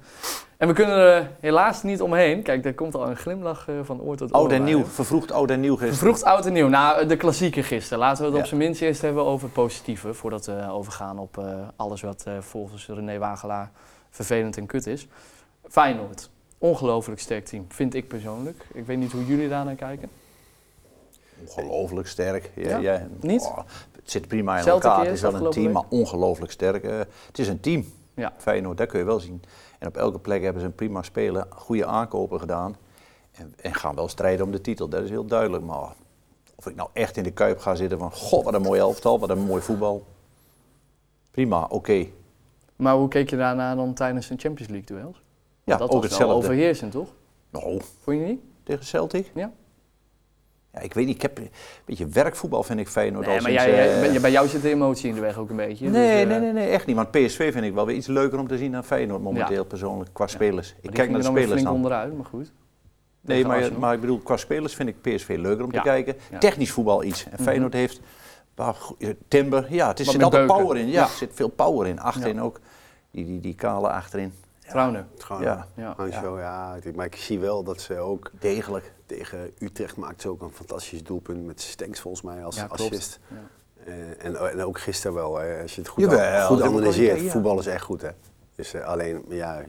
En we kunnen er eh, helaas niet omheen. Kijk, daar komt al een glimlach eh, van oor
Oh,
tot oor.
Oud en
bij,
nieuw,
hè?
vervroegd oud en nieuw gisteren.
Vroeg oud en nieuw. Nou, de klassieke gisteren. Laten we het op
Ja.
zijn minst eerst hebben over het positieve. Voordat we overgaan op eh, alles wat eh, volgens René Wagelaar vervelend en kut is. Feyenoord. Ongelooflijk sterk team, vind ik persoonlijk. Ik weet niet hoe jullie daar naar kijken.
Ongelooflijk sterk. Ja,
Ja?
ja.
Niet?
Oh, het zit prima in
Celtic
elkaar.
is
Het is wel een
afgelopen
team, maar
week.
ongelooflijk sterk. Eh, het is een team.
Ja.
Feyenoord, dat kun je wel zien. En op elke plek hebben ze een prima speler, goede aankopen gedaan. En, en gaan wel strijden om de titel, dat is heel duidelijk. Maar of ik nou echt in de kuip ga zitten van, god, wat een mooi elftal, wat een mooi voetbal. Prima, oké.
Maar hoe keek je daarna dan tijdens een Champions League duels?
Ja,
dat
ook
was
hetzelfde.
wel overheersend, toch?
Nou,
Vond je niet?
tegen Celtic?
Ja.
Ja, ik weet niet, ik heb een beetje werkvoetbal vind ik Feyenoord al
Nee, maar
sinds,
jij,
eh,
jij- bij- bij jou zit de emotie in de weg ook een beetje. dus,
Nee,
eh,
nee, nee, nee, echt niet. Want PSV vind ik wel weer iets leuker om te zien dan Feyenoord momenteel persoonlijk, qua spelers. Ik
maar die
kijk
gingen
naar de
dan weer
spelers
flink
dan.
onderuit, maar goed.
Nee,
tegen
maar,
Arsenal.
maar ik bedoel, qua spelers vind ik PSV leuker om
Ja.
te kijken.
Ja. Mhm.
Technisch voetbal iets. En Feyenoord heeft bah, go- eh, Timber, ja, het is,
Wat
zit
meer
altijd
beuken.
power in. Ja,
Ja.
er zit veel power in. Achterin ook, die, die, die kale achterin.
Trouwner.
Het gewoon,
Ja.
ja.
Ja.
Ancho, ja. ik- Maar ik zie wel dat ze ook
Degelijk.
tegen Utrecht maakt ze ook een fantastisch doelpunt met Stenks volgens mij als
Ja, klopt.
assist.
Ja.
Eh, en, en ook gisteren wel, hè. als je het goed,
Jawel,
goed
dat heb ik
analyseert.
ook, ja.
Voetbal is echt goed, hè. Dus eh, alleen, ja,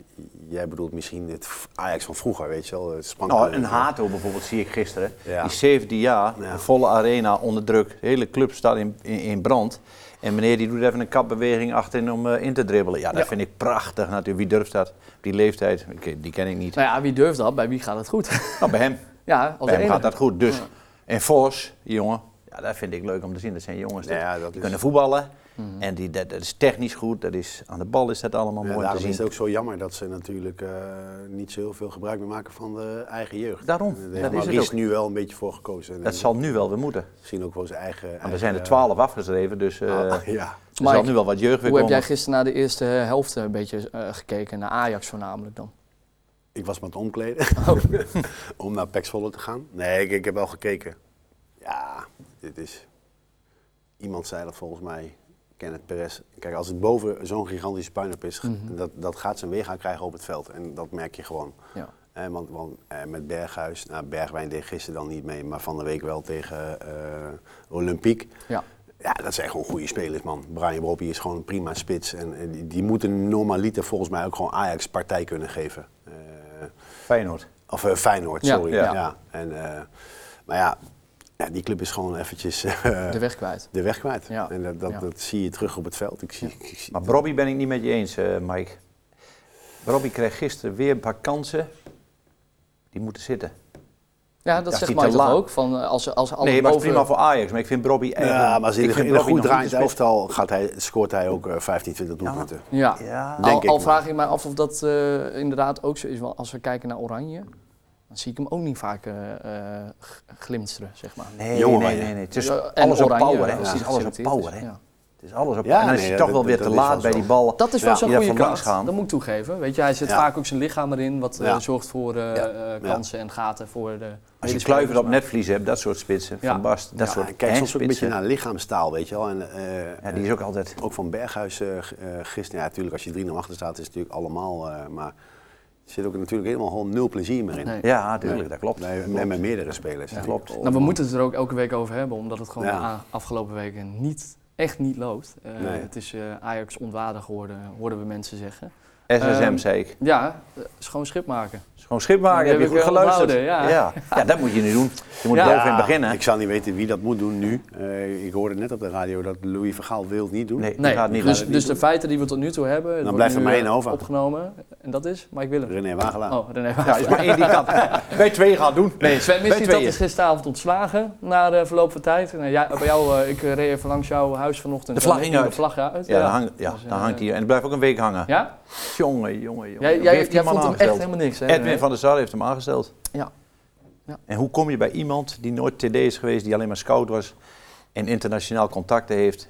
jij bedoelt misschien het v- Ajax van vroeger, weet je wel. Het
Oh,
Nou,
spankbal.
een Hato bijvoorbeeld zie ik gisteren.
Ja.
Die 17 jaar,
Ja.
de volle arena onder druk. De hele club staat in, in, in brand. En meneer die doet even een kapbeweging achterin om eh, in te dribbelen. Ja, dat vind ik prachtig natuurlijk. Wie durft dat? Op Die leeftijd, ik- die ken ik niet.
Nou ja, wie durft dat? Bij wie gaat het
*laughs*
goed?
Nou, bij hem.
ja, als
Bij hem
enige.
gaat dat goed. Dus. En Vos, die jongen, ja, dat vind ik leuk om te zien. Dat zijn jongens die,
Ja, dat
die
is- Mhm.
kunnen voetballen. En die, dat, dat is technisch goed. Dat is, aan de bal is dat allemaal
Ja,
mooi om te
daarom is
zien.
het ook zo jammer dat ze natuurlijk eh, niet zo heel veel gebruik meer maken van de eigen jeugd.
Daarom,
Daar
dat
heeft
is het
Maurice
ook.
nu wel een beetje voor gekozen. En
Dat
eh,
zal nu wel weer moeten.
Misschien ook wel zijn eigen...
Want er
eigen,
zijn er
eh,
twaalf afgeschreven, dus
Ah,
eh,
*laughs* ja.
er zal
Mike,
nu wel wat jeugd weer
Hoe heb
komen.
jij gisteren naar de eerste helft een beetje eh, gekeken? Naar Ajax voornamelijk dan?
Ik was me aan het omkleden.
Oh.
*laughs* Om naar Pax Volle te gaan. Nee, ik, ik heb wel gekeken. Ja, dit is... Iemand zei dat volgens mij, Kenneth Perez. Kijk, als het boven zo'n gigantische puinhoop is,
Mhm.
dat, dat gaat zijn weergaan krijgen op het veld. En dat merk je gewoon.
Ja.
Eh, want want eh, met Berghuis, nou, Bergwijn deed gisteren dan niet mee, maar van de week wel tegen eh Olympiek.
Ja.
Ja, dat zijn gewoon goede spelers, man. Brian Bobby is gewoon een prima spits. En, en die, die moeten normaliter volgens mij ook gewoon Ajax partij kunnen geven. Eh,
Feyenoord.
of eh, Feyenoord,
Ja,
sorry.
ja.
Ja. En, eh, maar ja, ja, die club is gewoon eventjes *laughs* eh,
De weg kwijt.
de weg kwijt.
Ja,
En dat, dat,
ja.
dat zie je terug op het veld. Ik zie, ik zie-
Maar Robbie ben ik niet met je eens, eh, Mike. Robbie kreeg gisteren weer een paar kansen. Die moeten zitten.
Ja, dat
dacht
zegt
niet te
Mike toch
laat.
ook? Van, eh, als, als alle
nee, maar het is
boven...
prima voor Ajax. Maar ik vind Robbie echt...
ja, maar als in,
ik
een-
vind
in een
Robbie
goed
nog
draaiend
te spelen.
elftal gaat hij, scoort hij ook eh, 15, 20 doelpunten.
Ja.
Ja.
Al,
Denk ik
al
maar.
vraag ik mij af of dat eh, inderdaad ook zo is. Want als we kijken naar Oranje, dan zie ik hem ook niet vaak eh, eh, g- glimsteren, zeg maar.
Nee,
Jongen,
nee,
maar
nee, nee. Het is
Ja, en
alles op
Oranje,
power, hè.
als
Het
die
is alles op
geselecteerd is.
power, hè.
Ja.
Het is alles op...
Ja,
en hij
nee,
is toch
dat-
wel weer
dat
te
is
laat
wel
bij
zo.
die bal.
Dat is wel
Ja,
zo'n
die daar
goede
van langs
kans.
gaan.
Dat moet ik toegeven. Weet je, hij zet
Ja.
vaak ook zijn lichaam erin, wat eh,
Ja.
zorgt voor eh,
Ja.
eh, kansen en gaten voor de.
Als je
medespelers,
kluiver op
maar-
netvlies hebt, dat soort spitsen.
Ja.
Van Bast, dat
Ja,
soort
kijk
hè,
soms ook een beetje
spitsen.
naar lichaamstaal, weet je wel. En, eh,
Ja, die is ook altijd...
Ook van Berghuis eh, g- eh, gisteren. Ja, natuurlijk, als je 3-0 achter staat, is het natuurlijk allemaal. eh, maar er zit ook natuurlijk helemaal gewoon nul plezier meer in.
Nee.
Ja, natuurlijk, dat klopt.
Bij, en met meerdere spelers. Oh,
Dat klopt.
Nou, we moeten het er ook elke week over hebben, omdat het gewoon
Ja.
de a- afgelopen weken niet, echt niet loopt. Eh,
Nee.
Het is eh, Ajax ontwaardig geworden, hoorden we mensen zeggen.
SSM,
Ehm,
zei ik.
Ja, eh, schoon schip maken.
Is Gewoon schip maken,
Die
heb je
heb
goed
ik wel
geluisterd.
onthouden, ja.
Ja. Ja, dat moet je niet doen. Je moet
Ja.
bovenin beginnen.
Ik zou niet weten wie dat moet doen nu. Eh, ik hoorde net op de radio dat Louis Vergaal wil het niet doen.
Nee,
Nee,
dat gaat niet
dus,
lukken.
dus de feiten die we tot nu toe hebben, het wordt
blijft er
nu,
maar
eh,
één over.
opgenomen. En dat is Mike Willem.
René Wagelaar.
Oh, René
Ja, is maar één die kan.
*laughs*
Wij twee gaan doen.
Nee, Sven
Wij
Missie, dat
tweeën.
is gisteravond ontslagen na de verloop van tijd. En, eh, ja, bij jou, eh, ik eh, reed even langs jouw huis vanochtend.
De vlag
en
ging
ging
uit.
De vlag uit.
Ja, dan, hang, ja,
Dus, eh,
dan hangt hij. En het blijft ook een week hangen.
Ja?
Jongen, jongen, jongen.
Jij,
Wie
jij,
heeft die
jij
man
vond hem echt
aangesteld?
helemaal niks, hè?
Edwin van der Sar heeft hem aangesteld.
Ja. Ja.
En hoe kom je bij iemand die nooit TD is geweest, die alleen maar scout was en internationaal contacten heeft?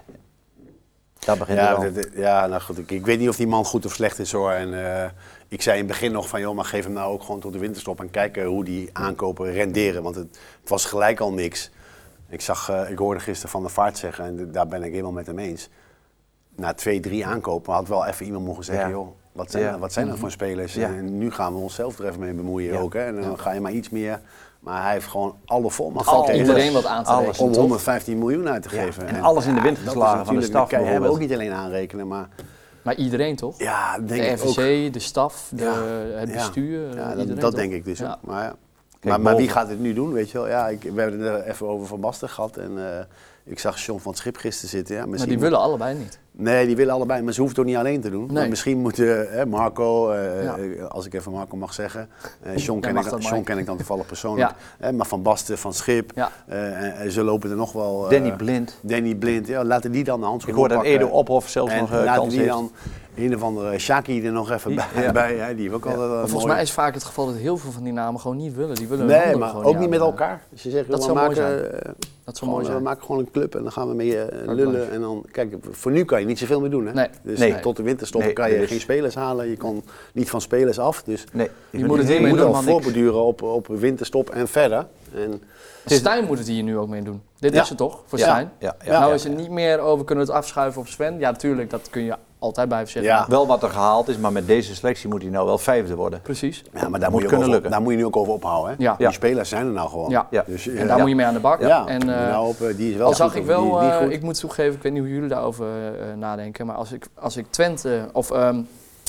Daar begint
Ja,
het al.
dat- dat- ja, nou goed, ik, ik weet niet of die man goed of slecht is hoor. En, eh, ik zei in het begin nog van, joh, maar geef hem nou ook gewoon tot de winterstop en kijken hoe die aankopen renderen. Want het, het was gelijk al niks. Ik, zag, eh, ik hoorde gisteren Van der Vaart zeggen, en d- daar ben ik helemaal met hem eens. Na twee, drie aankopen had wel even iemand mogen zeggen,
Ja.
joh, wat zijn,
Ja. Mhm.
dat- wat zijn dat voor spelers?
Ja.
En nu gaan we onszelf er even mee bemoeien
Ja.
ook. Hè? En dan ga je maar iets meer. Maar hij heeft gewoon alle volmacht
Al
gekregen
iedereen wat aan te
Alles.
rekenen,
om
toch?
115 miljoen uit te geven.
en alles in de wind
dat is
geslagen van de
natuurlijk-
staf
Dat kan je hem ook
bijvoorbeeld.
niet alleen aanrekenen, maar
Maar iedereen toch?
ja, denk
de
ik ook.
RVC, de staf, de,
Ja.
het
Ja.
bestuur. eh,
Ja, dat,
iedereen
dat
toch?
denk ik dus
Ja.
ook. Maar ja, maar, maar wie
boven-
gaat dit nu doen, weet je wel? Ja, ik, we hebben het er even over Van Basten gehad. En eh, ik zag John van het Schip gisteren zitten. Ja,
Maar
misschien
die willen allebei niet.
Nee, die willen allebei, maar ze hoeft het ook niet alleen te doen.
Nee.
Maar misschien moeten eh, Marco, eh,
Ja.
eh, als ik even Marco mag zeggen, eh John, ken
mag
ik,
dat,
John
Mike.
ken ik dan toevallig persoonlijk, Eh, maar Van Basten, Van Schip,
Ja.
eh, en, en ze lopen er nog wel... eh,
Danny Blind.
Danny Blind, ja, laten die dan de
Ik
handschoen
hoor dat
oppakken.
Edo Ophoff zelfs
En
nog eh,
laten
kans
die
heeft.
dan een of andere eh, Shaki er nog even bij, *laughs*
ja.
bij hè, die heeft ook altijd
Maar
een
volgens mij is vaak het geval dat heel veel van die namen gewoon niet willen. Die willen hun
Nee,
handen
maar
gewoon
ook niet met
aan, eh,
elkaar. Dus je zegt,
Dat
we,
zou mooi
maken,
zijn.
eh,
Dat zou
gewoon,
mooi
we
zijn.
maken gewoon een club en dan gaan we mee eh,
lunch.
lullen. En dan, kijk, voor nu kan je niet zoveel meer doen. Hè?
Nee.
Dus
Nee. dus-
tot de winterstop
Nee,
kan je
er is-
geen spelers halen. Je kan niet van spelers af. Dus
Nee,
Die moet het
je
hiermee
moet
doen,
al
man, niks.
voorbeduren op, op winterstop en verder. En,
Stijn moet het hier nu ook mee doen. Dit
Ja.
is het toch, voor
Ja.
Stijn?
Ja, ja,
nou
ja,
is het
ja.
niet meer over kunnen we het afschuiven op Sven. Ja, tuurlijk, dat kun je altijd blijven zeggen.
Ja.
Wel wat er gehaald is, maar met deze selectie moet hij nou wel vijfde worden.
Precies.
ja, maar
Moet
daar moet, je ook
kunnen
over-
lukken.
daar moet je nu ook over ophouden. Hè?
Ja.
Die
Ja.
spelers zijn er nou gewoon.
Ja.
Ja.
Dus,
En daar moet je mee aan de bak.
Ja,
En, eh,
nou, op, eh, die is wel
al zag
goed,
ik
of die
wel,
is niet
eh,
goed.
ik moet toegeven, ik weet niet hoe jullie daarover eh, nadenken, maar als ik, als ik Twente of ehm,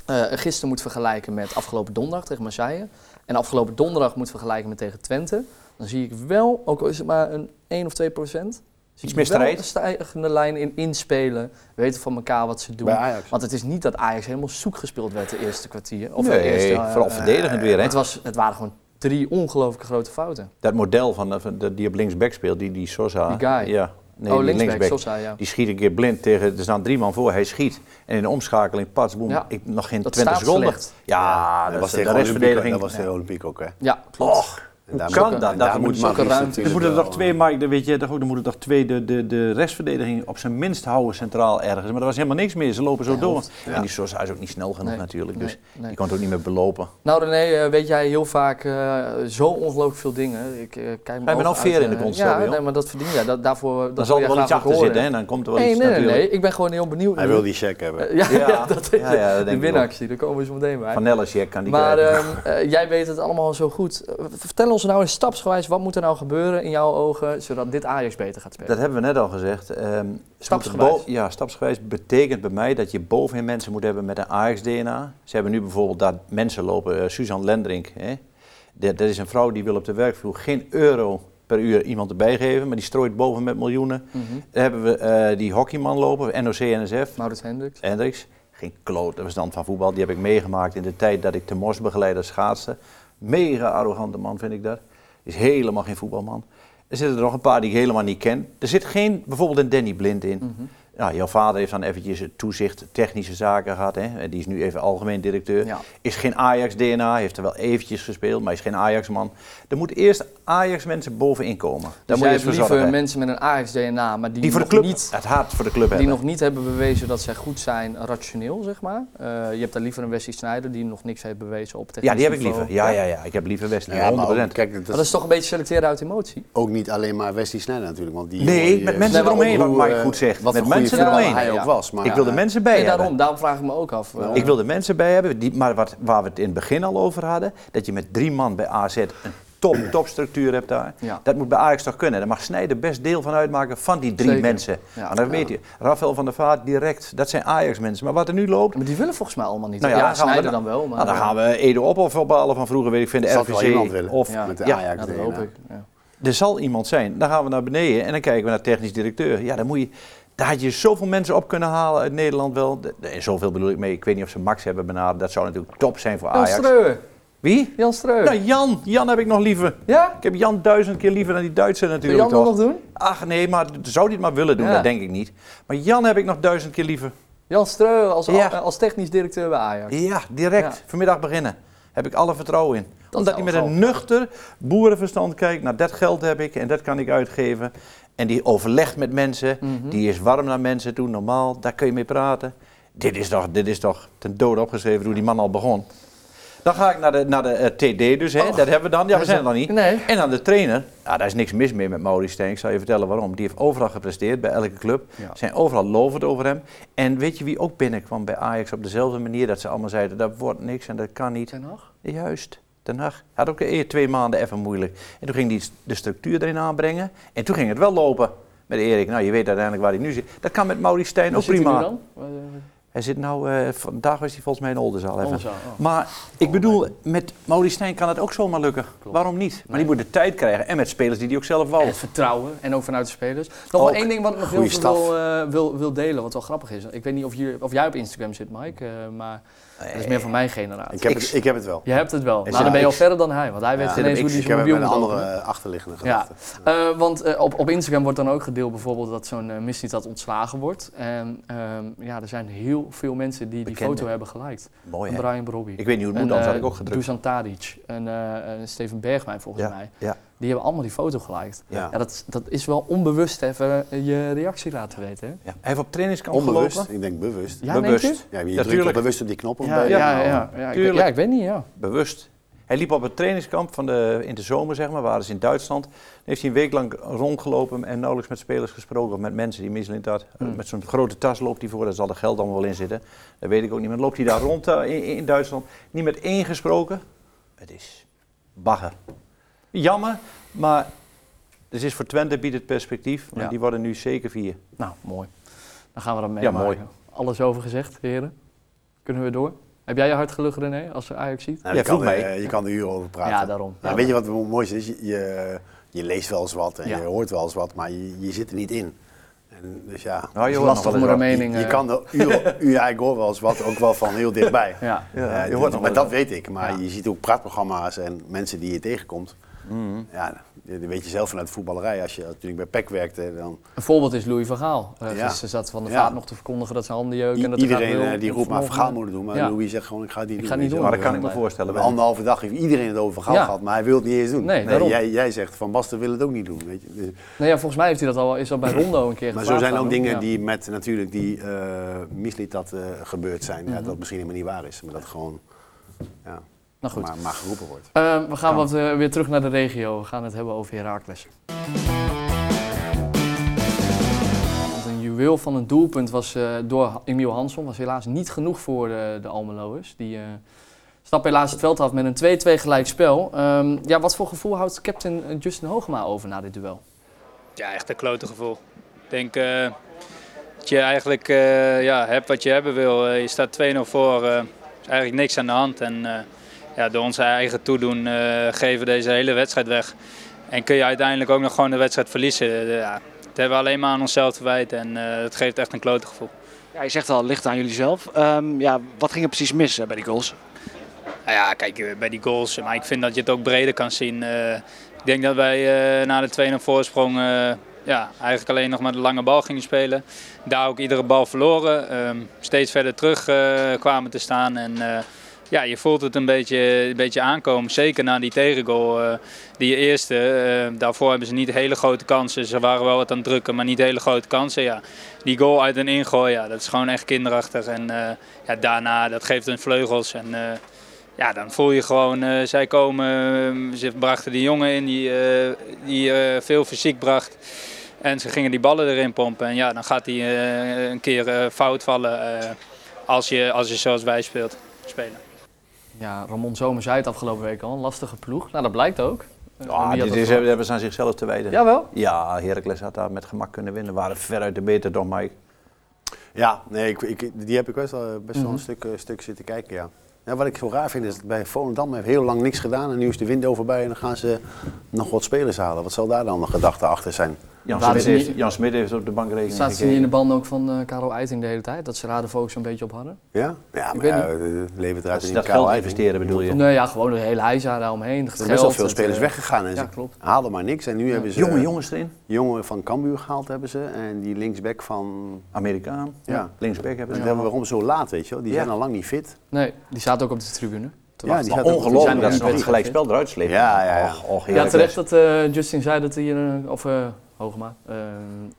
eh, gisteren moet vergelijken met afgelopen donderdag tegen Marseille en afgelopen donderdag moet vergelijken met tegen Twente, dan zie ik wel, ook al is het maar een 1 of 2 procent, zie
Iets
ik
meer
wel
strijd.
een stijgende lijn in inspelen, weten van elkaar wat ze doen.
Bij Ajax.
Want het is niet dat Ajax helemaal zoek gespeeld werd de eerste kwartier. Of
nee,
de eerste, eh,
vooral
eh,
verdedigend weer. Hè?
het, was, het waren gewoon drie ongelooflijk grote fouten.
Dat model van, eh, van- die op linksback speelt, die, die Sosa.
Die guy.
Ja, nee,
oh,
die
linksback, Sosa, ja.
Die schiet een keer blind tegen, er staan drie man voor, hij schiet. En in de omschakeling, pas, boem,
Ja.
ik, nog geen
Dat
20
staat
seconden.
slecht.
Ja,
dat, was
de
tegen Olympiek, ook-
restverdediging.
dat was tegen Olympiek ook. Hè? En
Ja, klopt.
Och, hoe
daar
kan
moet-
dat?
en
dat Dus
daar moet
zulke
Magnus
ruimtes.
er
natuurlijk eh,
moeten er
wel-
nog twee, Mike, dan weet je toch ook, er moeten er nog twee de, de, de restverdediging op zijn minst houden centraal ergens. Maar er was helemaal niks meer, ze lopen zo
Ja,
door.
hoofd.
En die Sosa is ook niet snel genoeg
Nee,
natuurlijk, dus
nee, nee.
die kon het ook niet meer belopen.
Nou René, eh, weet jij heel vaak eh, zo ongelooflijk veel dingen. Ik eh, kijk
bent
ogen
ook veer
uit,
in de
eh,
kont
Ja,
stoppen, joh.
nee, maar dat verdien jij. Dat, daarvoor, dat
Dan
wil
zal
jij
er wel iets
graag ook
achter
horen.
zitten, hè? dan komt er wel
Nee,
iets
nee, nee,
natuurlijk.
nee. Ik ben gewoon heel benieuwd.
Hij wil die check hebben.
Eh, *laughs* ja,
Ja,
ja, dat,
ja, ja, dat denk
de
ik
winactie, daar komen we zo meteen bij.
Van Nellisjek kan die
maar
krijgen.
ehm, eh, jij weet het allemaal zo goed. Eh, vertel ons nou in stapsgewijs, wat moet er nou gebeuren in jouw ogen, zodat dit Ajax beter gaat spelen?
Dat hebben we net al gezegd. Ehm, ze moeten
Stapsgewijs.
bo- Ja, stapsgewijs betekent bij mij dat je bovenin mensen moet hebben met een Ajax-DNA. Ze hebben nu bijvoorbeeld daar mensen lopen, eh, Suzanne Lendrink. Hè? Dat, dat is een vrouw die wil op de werkvloer geen euro per uur iemand erbij geven, maar die strooit boven met miljoenen.
Mhm.
Dan hebben we eh, die hockeyman lopen, NOC-NSF,
Maurits Hendricks.
Hendricks. Geen klote verstand van voetbal, die heb ik meegemaakt in de tijd dat ik de Mos begeleidde als schaatsen. Mega arrogante man vind ik dat. Is helemaal geen voetbalman. Er zitten er nog een paar die ik helemaal niet ken. Er zit geen, bijvoorbeeld een Danny Blind in.
Mhm.
Nou, jouw vader heeft dan eventjes het toezicht technische zaken gehad. Hè? En Die is nu even algemeen directeur.
Ja.
Is geen Ajax-DNA, heeft er wel eventjes gespeeld, maar is geen Ajax-man. Er moeten eerst Ajax-mensen bovenin komen. Daar
Dus
moet
jij
je eens
hebt
voor
liever
zorgen.
mensen met een Ajax-DNA, maar die,
Die voor de
nog
club,
niet
het hart voor de club
die
hebben.
nog niet hebben bewezen dat zij goed zijn rationeel, zeg maar. Eh, je hebt daar liever een Wesley Sneijder die nog niks heeft bewezen op technisch
Ja, die heb ik
niveau.
liever. Ja, ja, ja. Ik heb liever Wesley,
Ja,
100%.
maar ook- kijk, dat
Maar dat is toch een beetje selecteren uit emotie?
ook niet alleen maar Wesley Sneijder natuurlijk. Want die,
Nee,
jongen, die,
met
eh,
mensen
Nee, maar
eromheen,
hoe,
wat Mike
eh,
goed zegt.
Wat
met
een goede
mensen
voetballer
eromheen.
hij
Ja.
ook was. Maar eh,
ik wil de mensen bij
Nee, daarom,
hebben.
daarom vraag ik me ook af. eh,
Ik wil de mensen bij hebben, die, maar wat, waar we het in het begin al over hadden, dat je met drie man bij AZ een top, topstructuur hebt daar.
Ja.
Dat moet bij Ajax toch kunnen. Daar mag Snijder best deel van uitmaken van die drie
Zeker.
mensen.
Ja.
En dan weet je, Rafael van der Vaart direct, dat zijn Ajax mensen. Maar wat er nu loopt,
Maar die willen volgens mij allemaal niet.
nou ja,
ja,
dan gaan we
Sneijder
dan-
dan wel. Maar,
nou, dan gaan we Edo op of ophalen van vroeger, weet ik vind de
Zal wel iemand willen.
RVC. Of,
Ja.
Met de
Ja,
eh, Ja,
Ajax
dat
DNA.
hoop ik. Ja.
Er zal iemand zijn. Dan gaan we naar beneden en dan kijken we naar technisch directeur. Ja, dan moet je, daar had je zoveel mensen op kunnen halen uit Nederland wel. De- de- En zoveel bedoel ik mee. Ik weet niet of ze Max hebben benaderd. Dat zou natuurlijk top zijn voor
Jan
Ajax.
Streur.
Wie?
Jan Streur.
Nou, Jan. Jan heb ik nog liever.
Ja?
Ik heb Jan duizend keer liever dan die Duitser
Wil
natuurlijk
Jan dat
toch.
nog doen?
Ach nee, maar d- zou die het maar willen doen?
Ja.
Dat denk ik niet. Maar Jan heb ik nog duizend keer liever.
Jan Streur als,
Ja.
eh, als technisch directeur bij Ajax.
Ja, direct.
Ja.
Vanmiddag beginnen. Heb ik alle vertrouwen in. Omdat
zou
hij met
wel
een nuchter boerenverstand kijkt. Nou, dat geld heb ik en dat kan ik uitgeven. En die overlegt met mensen.
Mhm.
Die is warm naar mensen toe, normaal. Daar kun je mee praten. Dit is toch, dit is toch ten dode opgeschreven hoe die man al begon. Dan ga ik naar de, naar de eh, TD dus, hè. dat hebben we dan. Ja, we zijn er dan niet.
Nee.
En aan de trainer, ja, daar is niks mis mee met Maurice Stijn. Ik zal je vertellen waarom. Die heeft overal gepresteerd bij elke club.
Ja.
Zijn overal lovend over hem. En weet je wie ook binnenkwam bij Ajax op dezelfde manier? Dat ze allemaal zeiden, dat wordt niks en dat kan niet.
Ten Hag?
Juist, Den Haag. Had ook eer twee maanden even moeilijk. En toen ging hij de structuur erin aanbrengen. En toen ging het wel lopen met Erik. Nou, je weet uiteindelijk waar hij nu zit. Dat kan met Maurice Stijn
Waar
ook
zit hij
prima.
nu dan? Eh,
Hij zit nou, eh, vandaag was hij volgens mij in Oldenzaal. even.
Onze, oh.
Maar ik bedoel, met Moli Stijn kan het ook zomaar lukken. Waarom niet? Maar die moet de tijd krijgen. En met spelers die die ook zelf wou.
En het vertrouwen. En ook vanuit de spelers. Nog wel
Oh. Ook.
één ding wat ik nog heel
Goeie
veel
staf.
wil, eh, wil, wil delen, wat wel grappig is. Ik weet niet of, hier, of jij op Instagram zit, Mike. eh, maar dat is meer van mijn generatie.
Ik heb, het, ik heb het wel.
Je hebt het wel.
Is
Nou, dan
ja,
ben je al
ik-
verder dan hij. Want hij weet
Ja,
ineens
ik,
hoe hij
ik
zijn
heb
mobiel
met een
moet
andere
openen.
eh, achterliggende
Ja.
gedachte.
Eh, want eh, op, op Instagram wordt dan ook gedeeld bijvoorbeeld dat zo'n eh, missie dat ontslagen wordt. En ehm, ja, er zijn heel veel mensen die die
Bekende.
foto hebben geliked.
Oh
Mooi,
Een
hè?
Brian Brobby.
Ik weet niet hoe het moet, anders had ik ook
gedaan.
gedrukt.
Dusan Tadic. En eh, en Steven Bergwijn volgens
Ja,
mij.
ja.
Die hebben allemaal die foto geliked.
Ja.
Ja, dat, dat is wel onbewust even eh, je reactie laten weten. Hè?
Ja. Hij heeft op trainingskamp
Onbewust,
gelopen.
ik denk bewust.
Ja, denk je?
Bewust.
Ja,
Ja,
je drukt wel
tuurlijk.
bewust op die knop. of
Ja,
bij-
ja, ja, ja, ik, weet-
Tuurlijk.
ja, ik weet niet. Ja.
Bewust. Hij liep op het trainingskamp van de, in de zomer, zeg maar, waren ze in Duitsland. Dan heeft hij een week lang rondgelopen en nauwelijks met spelers gesproken of met mensen die misselend had. Eh,
Hmm.
Met zo'n grote tas loopt hij voor, daar zal de geld allemaal wel in zitten. Dat weet ik ook niet. Maar dan loopt hij daar rond eh, in, in Duitsland, niet met één gesproken. Het is bagger. Jammer, maar dus is voor Twente biedt het perspectief, want
Ja.
die worden nu zeker vier.
Nou, mooi. Dan gaan we dat mee.
Ja, mooi.
Alles over gezegd, heren. Kunnen we door? Heb jij je hart gelucht, René, als Ajax ziet?
Nou,
Ja,
je, kan,
vroeg
er-
mij.
eh, je kan er uren over praten.
Ja, daarom.
Nou, weet je wat mo- mooi is? Je, je, je leest wel eens wat en
Ja.
je hoort wel eens wat, maar je, je zit er niet in. En dus ja,
Nou, je hoort
lastig
nog wel
om
eens
er
wat.
mening,
je, je
eh.
kan er
*laughs*
uren, uren- ja, ik hoor wel eens wat, ook wel van heel dichtbij.
Ja.
Ja,
Eh,
je
dit-
hoort nog
maar
wel
dat weet ik, maar
Ja.
je ziet ook praatprogramma's en mensen die je tegenkomt.
Mm.
Ja, dat weet je zelf vanuit de voetballerij. Als je, toen ik bij PEC werkte, dan
Een voorbeeld is Louis van Gaal. Eh,
Ja.
Gisteren zat Van der
Ja.
Vaart nog te verkondigen dat zijn handen jeuken. en dat hij
iedereen
graag wil
eh, die roept maar
vermogen-
vergaal moeten doen. Maar
Ja.
Louis zegt gewoon, ik ga het niet
Ik
doen.
ga niet
weet je
doen.
Maar
wel.
dat kan ik me
Blijven.
voorstellen.
Een anderhalve dag heeft iedereen het over Gaal
Ja.
gehad, maar hij wil het niet eens doen.
Nee, daarom.
jij, jij zegt van Basten wil het ook niet doen. Weet je. Dus-
Nee, Nou ja, volgens mij heeft hij dat al, is
*clears throat*
dat bij Rondo een keer
maar zo
gevraagd
zijn
aan
ook
hem.
dingen
Ja.
die met natuurlijk die eh mislied dat eh, gebeurd zijn.
Mhm.
ja, dat misschien helemaal niet waar is, maar dat gewoon ja,
Nou goed.
maar, maar geroepen wordt.
Eh, we gaan wat, eh, weer terug naar de regio. We gaan het hebben over Heracles. Want Een juweel van een doelpunt was eh, door Emiel Hansson was helaas niet genoeg voor eh, de Almeloers. Die eh stappen helaas het veld af met een 2-2 gelijk spel. Ehm, ja, wat voor gevoel houdt captain eh, Justin Hoogema over na dit duel?
Ja, echt een klote gevoel. Ik denk eh, dat je eigenlijk eh, ja, hebt wat je hebben wil. Eh, je staat 2-0 voor. eh, Er is eigenlijk niks aan de hand. En eh, ja, door ons eigen toedoen eh, geven we deze hele wedstrijd weg. En kun je uiteindelijk ook nog gewoon de wedstrijd verliezen. Eh, ja, dat hebben we alleen maar aan onszelf te wijten. En eh, dat geeft echt een klote gevoel.
Ja, je zegt al, het ligt aan jullie zelf. Ehm, ja, wat ging er precies mis eh, bij die goals?
Nou ja, kijk, eh, bij die goals. Maar ik vind dat je het ook breder kan zien. Eh, ik denk dat wij eh, na de 2-0 voorsprong eh, ja, eigenlijk alleen nog maar de lange bal gingen spelen. Daar ook iedere bal verloren. Ehm, steeds verder terug eh, kwamen te staan. En eh, ja, je voelt het een beetje, een beetje aankomen. Zeker na die tegengoal, eh, die eerste. Eh, daarvoor hebben ze niet hele grote kansen. Ze waren wel wat aan het drukken, maar niet hele grote kansen. Ja. Die goal uit een ingooi, ja, dat is gewoon echt kinderachtig. En eh, ja, daarna, dat geeft hun vleugels. En, eh, ja, dan voel je gewoon, eh, zij komen, eh, ze brachten die jongen in die, eh, die eh, veel fysiek bracht. En ze gingen die ballen erin pompen. En ja, dan gaat die eh, een keer eh, fout vallen eh, als, je, als je zoals wij speelt, spelen.
Ja, Ramon Zomer zei het afgelopen week al, een lastige ploeg. Nou, dat blijkt ook. Eh, wie
Ja,
had
Ah, dit
dat
is,
verwacht?
hebben ze aan zichzelf te wijden.
Jawel.
Ja, Heracles had daar met gemak kunnen winnen. Waren veruit de beter dan Mike.
Ja, nee, ik, ik, die heb ik best wel, best
Mhm.
wel een stuk, eh, stuk zitten kijken, ja. ja. Wat ik zo raar vind is dat bij Volendam heeft heel lang niks gedaan en nu is de window voorbij en dan gaan ze nog wat spelers halen. Wat zal daar dan de gedachte achter zijn?
Jan
Laten
Smit,
ze
heeft,
niet-
Jan Smit heeft op de bankrekening
Staat ze
gekeken.
niet in de band ook van eh Karel Eiting de hele tijd? Dat ze raden focus een beetje op hadden?
Ja, ja maar
weet
ja, eh, levert
Dat
eruit
ze
in
dus dat geld investeren bedoel je?
Nee, ja, gewoon de hele heisa daaromheen.
Er zijn best wel veel
eh,
spelers weggegaan en
ja,
ze
klopt.
haalden maar niks en nu hebben ze...
Jonge jongens erin.
jongen van Cambuur gehaald hebben ze. En die linksback van...
Amerikaan.
Ja.
Linksback hebben
Dat
ze.
hebben we waarom zo laat, weet je wel. Die
Ja.
zijn al lang niet fit.
Nee, die zaten ook op de tribune. te wachten.
Ja, die
Maar
zaten ook- die zijn
ongelooflijk
ook
dat ze
niet
nog het
fit.
gelijkspel eruit slepen.
Ja, ja, ja.
Och, och,
Ja,
Heracles.
terecht dat eh, Justin zei dat hij, een- of eh, Hogema, eh,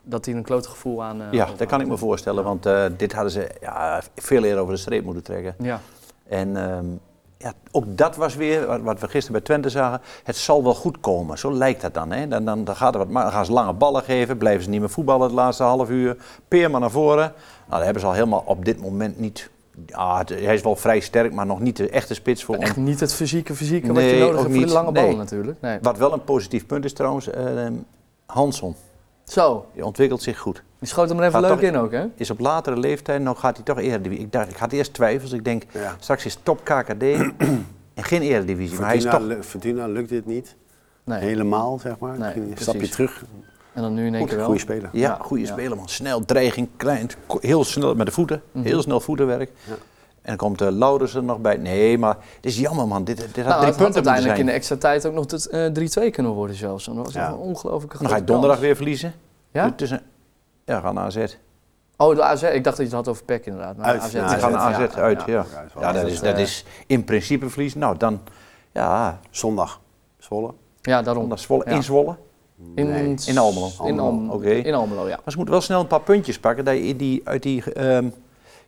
dat hij een klote gevoel aan... eh,
Ja, dat
overhoudt.
kan ik me voorstellen, want eh, dit hadden ze ja, veel eerder over de streep moeten trekken.
Ja,
En ehm, ja, ook dat was weer wat, wat we gisteren bij Twente zagen. Het zal wel goed komen, zo lijkt dat dan. Hè? Dan, dan, dan, gaat er wat, ma- dan gaan ze lange ballen geven, blijven ze niet meer voetballen het laatste half uur. Peerman naar voren. Nou, dat hebben ze al helemaal op dit moment niet. Ah, het- hij is wel vrij sterk, maar nog niet de echte spits voor ons.
echt niet het fysieke fysieke wat je
Nee,
nodig
ook
hebt voor de
niet.
lange bal
Nee.
natuurlijk. Nee.
Wat wel een positief punt is trouwens, ehm Hanson.
Zo,
Die ontwikkelt zich goed.
Die schoot hem er even
Gaat
leuk
toch-
in ook, hè?
Is op latere leeftijd, nou gaat hij toch eredivisie. Ik dacht, ik had eerst twijfels. Ik denk,
Ja.
straks is top KKD en geen eredivisie. Maar hij is
Fortuna,
toch
lu- Fortuna lukt dit niet.
Nee.
Helemaal, zeg maar.
Nee,
Misschien een
precies.
stapje terug.
En dan nu in één
Goed,
keer wel.
goede speler.
Ja,
Ja,
goede
ja.
speler, man. Snel, dreiging, klein, ko- heel snel met de voeten.
Mhm.
Heel snel voetenwerk. En dan komt eh Laurens er nog bij. Nee, maar het is jammer, man. Dit, dit
Nou,
had drie
het had
punten moeten
uiteindelijk in
zijn.
de extra tijd ook nog tot, eh, 3-2 kunnen worden zelfs. Dat was
Ja.
nog een ongelooflijke
En Dan ga je
grote
donderdag
kans.
weer verliezen.
Ja?
Tussen, ja, gaan naar AZ. Die
Oh, de AZ. Ik dacht dat je het had over PEC inderdaad. Maar
Uit.
AZ,
Ja,
ja,
die
gaan naar AZ
ja,
uit,
ja.
ja. Ja,
Ja,
dat, is, dat
eh,
is in principe verliezen. Nou, dan, ja,
Zondag. Zwolle.
Ja, daarom.
zondag Zwolle,
Ja.
in Zwolle.
In,
Nee,
in Almelo.
In Almelo,
Oké.
in Almelo ja.
Maar ze moeten wel snel een paar puntjes pakken dat je in die, uit die, ehm,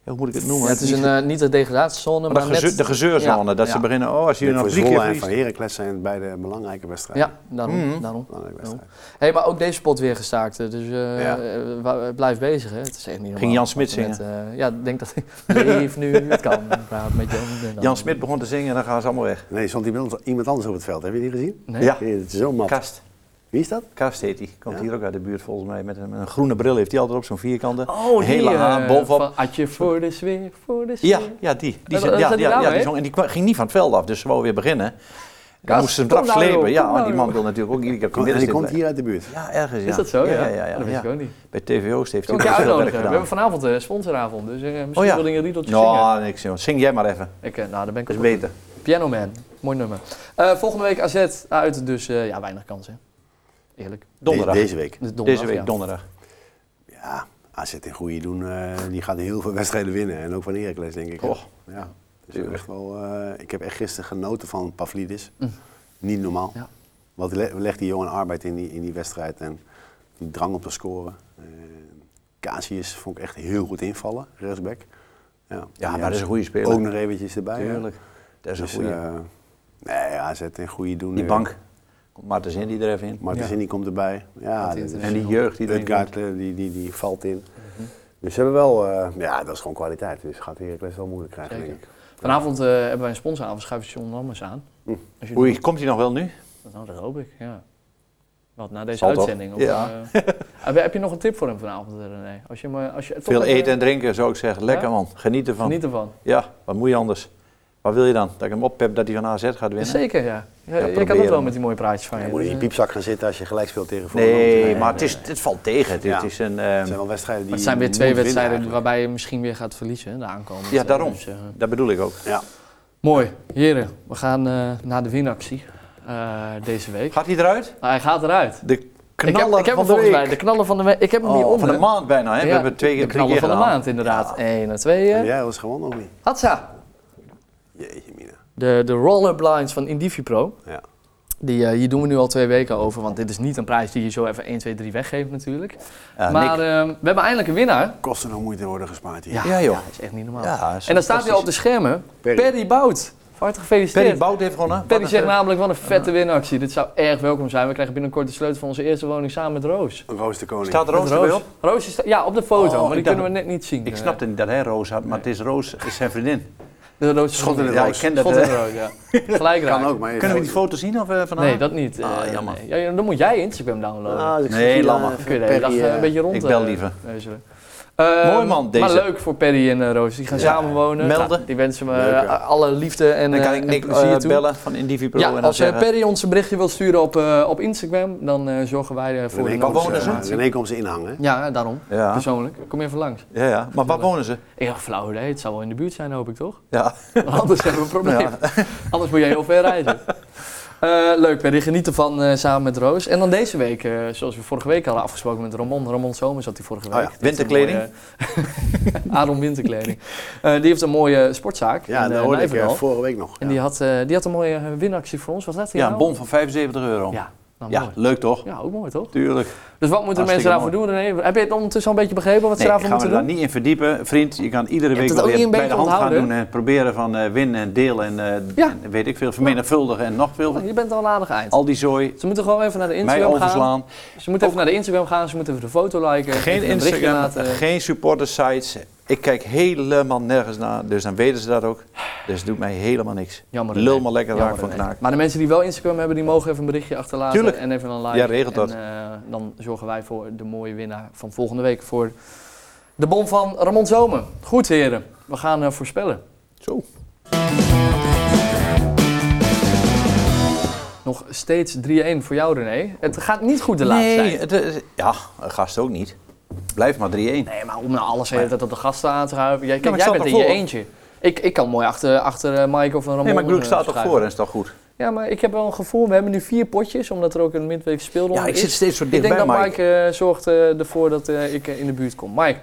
hoe moet ik het noemen?
Ja, het is een,
maar
eh, niet de degradatiezone,
de,
maar
gezeur-
net...
de gezeurzone,
Ja,
dat ze
ja.
beginnen, oh, als je nog
voor
drie
Zwolle
keer
en voor
verliest.
Heracles zijn het beide belangrijke wedstrijden.
Ja, daarom.
Mhm.
daarom.
Belangrijke wedstrijden.
Hey, maar ook deze spot weer gestaakt. hè. Dus eh,
Ja.
eh, wa- eh, blijf bezig. Hè. Het is echt niet normaal.
Jan Smit
Met, eh, ja, ik denk dat ik *laughs* leef nu. Het kan. Ik praat met Jan. en dan-
Jan Smit begon te zingen en dan gaan ze allemaal weg.
Nee, er stond iemand iemand anders op het veld. Heb je die gezien?
Nee?
Ja.
Nee, Het is zo mat.
Kast.
Wie is dat?
Kast heet die. Komt
Ja.
hier ook uit de buurt volgens mij. Met een, met een groene bril heeft hij altijd op, zo'n vierkante.
Oh,
Een
die,
hele
eh,
haan bovenop.
van Atje voor de sfeer, voor de sfeer.
Ja, ja, die. die,
Eh,
zit-
eh,
ja,
zat die
ja,
daar
ja, die
mee?
zong, en die kwam- ging niet van het veld af, dus ze wou weer beginnen. Dan
Kast,
moesten ze
kom
hem eraf
nou, joh,
slepen.
kom
Ja,
nou,
die
joh.
man wil natuurlijk ook iedere keer op de
Kom- en die
middenstip
komt hier uit de buurt.
blijven. Ja, ergens. Ja.
Is dat zo? Ja,
Ja, ja, ja,
dat
ja.
weet ik ook niet.
Bij TVO heeft hij
Kan ik je
natuurlijk veel werk
uitnodigen? We
gedaan.
hebben vanavond een sponsoravond, dus eh, misschien
Oh ja.
wilde je een riedeltje zingen.
Ja, niks joh. Zing jij maar even.
Ik, eh, nou, daar ben ik
Dat is
op-
beter.
Piano Man, mooi nummer. Eh, volgende week AZ uit, dus eh, ja, weinig kansen. Eerlijk.
Donderdag.
De- deze week.
Dus donderdag,
Deze week
ja.
donderdag.
Ja, AZ in goede doen. eh, die gaat heel veel wedstrijden winnen. En ook van Heracles, denk ik.
Och.
Ja. Dus
Tuurlijk. Mm.
echt wel, eh, ik heb echt gisteren genoten van Pavlidis. Niet normaal.
Ja.
Wat le- legt die jongen arbeid in die, in die wedstrijd en die drang op te scoren. Eh Casius vond ik echt heel goed invallen, rechtsback. Ja,
Ja,
Die
maar dat
hebben
is
ze
een goede speler.
Ook nog eventjes erbij. hè.
Tuurlijk. Dat is een
Dus,
goede.
eh, nee, AZ in goede doen.
Die
eh,
bank. Komt Maarten Zin die er even in.
Maar de
Ja.
zin die komt erbij. Ja,
Gaat hij
dat
het
is-
En die jeugd die erin komt.
Utgaard, eh, die, die, die valt in.
Mhm.
Dus ze hebben wel, eh, ja, dat is gewoon kwaliteit. Dus gaat Heracles wel moeilijk krijgen,
Zeker.
denk ik.
Vanavond eh, hebben wij een sponsoravond, schuift John Lammers aan. Als jullie-
Oei, komt hij nog wel nu?
Nou, dat hoop ik, ja. Wat, na deze
Zal toch?
uitzending? Of,
Ja. *laughs*
eh, heb, je- heb je nog een tip voor hem vanavond, eh, René? Als je, maar, als je, toch
Veel
even-
eten en drinken zou ik zeggen. Lekker
Ja?
man. Geniet ervan.
Geniet ervan.
Ja, wat moet je anders? Wat wil je dan? Dat ik hem oppep dat hij van AZ gaat winnen?
Zeker, ja. ja, jij kan
proberen,
dat wel
man.
met die mooie praatjes van je.
Dan moet je in
dus,
je piepzak gaan zitten als je gelijk speelt tegen
Nee,
Volendam.
maar het, is, het valt tegen. Het,
Ja.
het is een,
Het
ehm,
zijn wel wedstrijden die
Maar het zijn weer
je
twee
moet winnen
wedstrijden
eigenlijk.
waarbij je misschien weer gaat verliezen, hè, de aankomende.
ja, daarom.
Dus, eh,
Dat bedoel ik ook.
Ja.
mooi. Heren, we gaan eh, naar de winactie eh, deze week.
Gaat hij eruit?
Nou, hij gaat eruit.
De
Ik heb,
knallen
ik heb
van
hem
de
volgens mij,
week.
de knallen van de week. Ik heb hem
Oh,
niet om.
van de
hè.
maand bijna. Hè?
Ja,
We hebben twee keer
de knallen
drie keer
van de
gedaan.
maand inderdaad. Eén en twee.
Heb
eh.
jij ons gewonnen of niet?
Hatsa.
Jeetje mina.
De, de rollerblinds van Indivipro.
Ja.
Die, eh, hier doen we nu al twee weken over, want dit is niet een prijs die je zo even 1, 2, 3 weggeeft natuurlijk.
Ja,
maar
Nick.
ehm, we hebben eindelijk een winnaar.
Kosten nog moeite worden gespaard hier.
Ja, joh.
dat is echt niet normaal.
Ja, dat is
en dan staat hij al op de schermen. Perry,
Perry.
Bout. Van harte gefeliciteerd.
Perry Bout heeft gewonnen.
Perry
Wat
zegt
een-
namelijk, wat een vette winactie. Dit zou erg welkom zijn. We krijgen binnenkort de sleutel van onze eerste woning samen met Roos.
Roos de Koning.
Staat Roos
Met
er weer op?
Roos is, ja, op de foto,
Oh,
maar die
ik dacht-
kunnen we net niet zien. Eh,
Ik snapte niet dat hij Roos had, maar het is Roos, het is zijn vriendin.
De Roos is
Schot in de
Ja, ik
roos.
ken dat. eh,
Schot
hè.
in de rood, ja.
*laughs*
Gelijk raak.
Kan ook, maar
Kunnen we die foto zien of eh, van haar?
Nee, dat niet.
Ah,
Eh,
jammer.
nee. Ja, dan moet jij Instagram downloaden.
Ah,
Nee, laat maar.
Dan kun je de hele dag eh, een beetje rond.
ik bel
eh,
liever.
neuzelen. Eh,
Mooi man, deze.
Maar leuk voor Perry en eh, Roos. Die gaan
Ja.
samenwonen.
Melden.
Nou, die wensen me
Leuk, ja.
eh, alle liefde en,
Dan kan
eh,
ik
en
Nick
plezier
eh,
toe.
bellen van Indivipro
Ja,
en dan
als eh,
zeggen-
Perry ons een berichtje wil sturen op, eh, op Instagram, dan eh, zorgen wij ervoor.
René
voor
komt,
wonen
eh,
ze?
René komt ze inhangen. hè?
Ja, daarom.
Ja,
Persoonlijk. Kom even langs.
Dus ja, ja. maar waar wonen ze?
Ik dacht, flauw idee. Het zou wel in de buurt zijn, hoop ik toch?
Ja.
Want *laughs* Anders hebben we een probleem. *laughs* Anders moet je heel ver reizen. Eh, leuk, Perry. Geniet ervan eh, samen met Roos. En dan deze week, eh, zoals we vorige week hadden afgesproken met Ramon. Ramon Somers had die vorige week.
ja,
Die heeft
Oh winterkleding.
een *laughs* mooie- Aaron Winterkleding. Eh, die heeft een mooie sportzaak.
Ja,
in,
dat
eh,
hoorde ik eh,
Nijverdal.
vorige week nog.
En
Ja.
die had, eh, die had een mooie eh, winactie voor ons. Was dat die
Ja, een
nou?
bon van 75 euro.
Ja, nou,
Ja,
mooi.
leuk toch?
Ja, ook mooi toch?
Tuurlijk.
Dus wat moeten
Hartstikke
mensen daarvoor doen? René? Heb je het ondertussen al een beetje begrepen wat ze
Nee, ik
daarvoor
ga me
moeten
daar
doen?
niet in verdiepen. Vriend, je kan iedere
hebt
week
het
wel
ook niet
weer
een
bij de
beetje
hand gaan
onthouden,
doen. En proberen van eh, winnen en delen en eh,
Ja.
en weet ik veel, vermenigvuldigen en nog veel.
Oh, Je bent al een aardig eind.
Al die zooi,
Ze moeten gewoon even naar de
mij
Instagram gaan.
overslaan.
Ze moeten even naar de Instagram gaan. Ze moeten even de foto liken.
Geen
even een berichtje
Instagram,
laten.
geen supportersites, Ik kijk helemaal nergens naar, dus dan weten ze dat ook. Dus het doet mij helemaal niks.
Jammer.
Lul
nee.
maar lekker
Jammer,
raak van
nee.
knaak.
Maar de mensen die wel Instagram hebben, die mogen even een berichtje achterlaten.
Tuurlijk.
En even een like.
Ja, regelt
en,
dat.
eh, dan zorgen wij voor de mooie winnaar van volgende week. Voor de bon van Ramon Zomer. Goed heren, we gaan eh, voorspellen.
Zo.
Nog steeds 3-1 voor jou René. Het gaat niet goed de laatste tijd.
het is- ja, een gast ook niet. Blijf maar 3-1.
Nee, maar om nou alles de hele tijd op de gasten aan te schuiven. Jij, kijk,
maar ik
jij
sta
bent in
toch
je
voor?
eentje. Ik, ik kan mooi achter, achter eh, Mike of een Ramon
Nee, maar ik bedoel,
eh,
ik sta toch
schuiven.
voor en is toch goed.
Ja, maar ik heb wel een gevoel. We hebben nu vier potjes, omdat er ook een midweek speelronde
Ja, ik
is.
zit steeds zo
Ik denk
dichtbij,
dat Mike,
Mike.
eh, zorgt eh, ervoor dat eh, ik eh, in de buurt kom. Mike,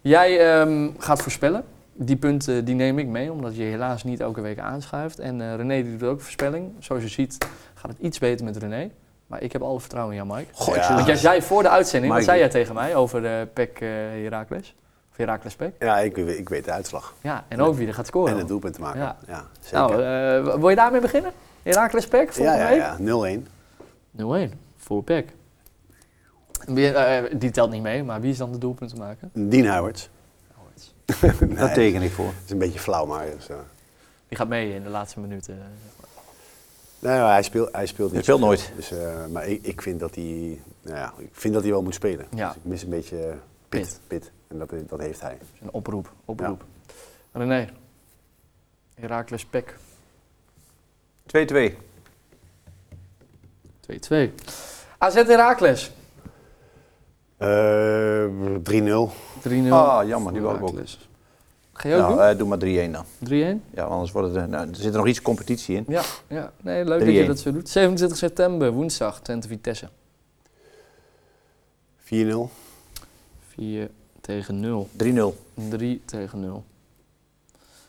jij ehm, gaat voorspellen. Die punten die neem ik mee, omdat je helaas niet elke week aanschuift. En eh, René die doet ook voorspelling. Zoals je ziet gaat het iets beter met René. Maar ik heb alle vertrouwen in jou, Mike.
Goh,
Ja.
Want jij zei voor de uitzending, wat
Mike-
zei jij tegen mij over eh PEC eh Heracles? Of Heracles PEC?
Ja, ik, we- ik weet de uitslag.
Ja, en ook wie er gaat scoren.
En het doelpunt te maken.
Oh. Ja.
Ja, zeker.
nou, eh, wil je daarmee beginnen? Heracles PEC
ja,
volgende
ja,
week?
ja. 0-1.
0-1 voor PEC. Wie- eh, die telt niet mee, maar wie is dan de doelpunt te maken?
Dean Howards.
Daar teken ik voor.
Dat is een beetje flauw, maar... dat is, eh,
Die gaat mee in de laatste minuten. eh,
Nee, maar hij speelt, hij speelt niet.
Hij speelt
zoveel. Dus, eh, maar ik, ik vind dat hij, nou ja, ik vind dat hij wel moet spelen.
Ja.
Dus ik mis een beetje eh, pit,
Pit.
pit. En dat, eh, dat heeft hij.
Een oproep, oproep. René, Heracles PEC
2-2.
2-2. AZ Heracles 3-0.
Eh, 3-0.
Ah, jammer, die wou ik ook.
Heracles. Ga je ook
Nou,
doen?
eh, doe maar 3-1 dan.
3-1?
Ja, anders wordt het, eh, nou, er zit er nog iets competitie in.
Ja, ja. Nee, leuk dat je
3-1.
dat zo doet. 27 september, woensdag, Twente Vitesse.
4-0.
4 tegen 0.
3-0.
3 tegen 0.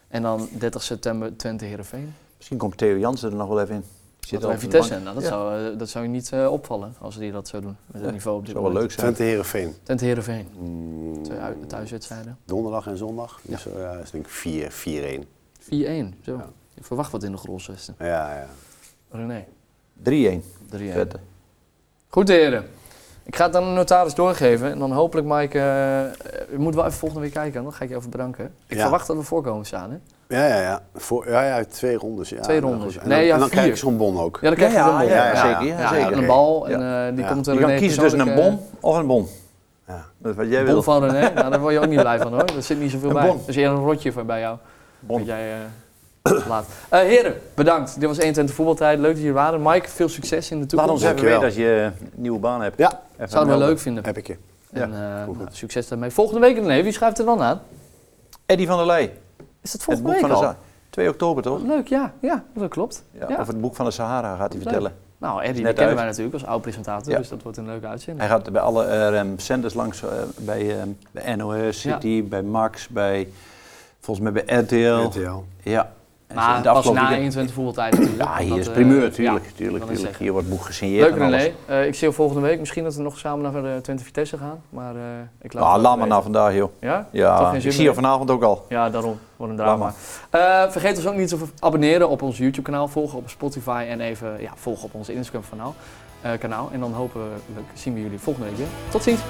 En dan 30 september Twente Heerenveen.
Misschien komt Theo Jansen er nog wel even in. Die Zit
Dat bij
al op de
Vitesse,
bank.
nou, dat,
Ja.
zou, eh, dat zou je niet eh, opvallen als die dat zou doen. Met het
Ja,
niveau op dit
zou wel
moment.
leuk zijn.
Twente Herenveen.
Twente Heerenveen. Twee ui- thuiswedstrijden.
Donderdag en zondag. Dus eh, ja, dat is denk ik 4, 4-1.
4-1. Zo.
Ja.
Je verwacht wat in de grolswesten.
Ja, ja.
René.
3-1.
3-1.
Vette.
Goed heren. Ik ga het aan de notaris doorgeven. En dan hopelijk Mike... eh je moet wel even volgende week kijken. Dan ga ik je even bedanken. Ik
Ja.
verwacht dat we voorkomen staan. Hè?
Ja, ja, ja. Voor, ja, ja, twee rondes. Ja,
Twee
Nou,
rondes.
goed. En
Nee,
dan,
ja,
en dan
vier.
krijg je zo'n bon ook.
Ja, dan krijg je
Ja,
een bal.
ja,
ja,
zeker. Ja,
ja,
Ja,
zeker.
een bal. En eh, die
Ja.
komt er eh,
Je kan kiezen tussen een bom of een bon.
Ja.
Dat is Dus wat jij
Bol
wil.
van René, nou, daar word je ook niet blij van hoor. Er zit niet zoveel
Een
bij.
bon.
Dat is eerder een rotje voor bij jou.
Bon.
Dat jij eh, *coughs* laat. Eh, heren, bedankt. Dit was 21 voetbaltijd. Leuk dat jullie waren. Mike, veel succes in de
Laat
toekomst.
ons even
Dankjewel.
weten als je een nieuwe baan hebt.
Ja,
Even
Zouden we
melden.
leuk vinden.
heb ik je.
En, eh, nou, succes daarmee. Volgende week, René, wie schrijft er dan aan?
Eddie van der Leij.
Is dat
Het
volgende
boek van
week
de
al?
Sa- 2 oktober toch?
Leuk, ja. Ja, dat klopt.
Ja,
Ja.
Of het boek van de Sahara gaat hij
Leuk.
vertellen.
Nou, Eddie, die
Net
kennen
uit.
wij natuurlijk als oud-presentator,
Ja.
dus dat wordt een leuke uitzending.
Hij gaat bij alle eh, ehm, zenders langs, eh, bij, ehm bij NOS,
Ja.
City, bij Max, bij volgens mij bij RTL.
RTL.
Ja. En zo
Maar
in
pas na
weekend-
21 voetbaltijd natuurlijk.
Ja, hier
Dat,
is
eh,
primeur, tuurlijk.
ja,
tuurlijk,
dat is
tuurlijk.
zeggen.
Hier wordt het boek gesigneerd
Leuk
en alles.
René. Eh, ik zie je volgende week. Misschien dat we nog samen naar de Twente Vitesse gaan. Maar eh, ik laat het
Ah,
wel
laat maar nou.
weten.
na vandaag, joh.
Ja? Toch
Ja,
geen
ik
zin
zie je
meer?
vanavond ook al.
Ja, daarom. Wat een
Laat
drama. Eh, vergeet ons ook niet te v- abonneren op ons YouTube kanaal. Volgen op Spotify en even ja, volgen op ons Instagram kanaal. eh, kanaal. En dan hopen we, zien we jullie volgende week weer. Tot ziens.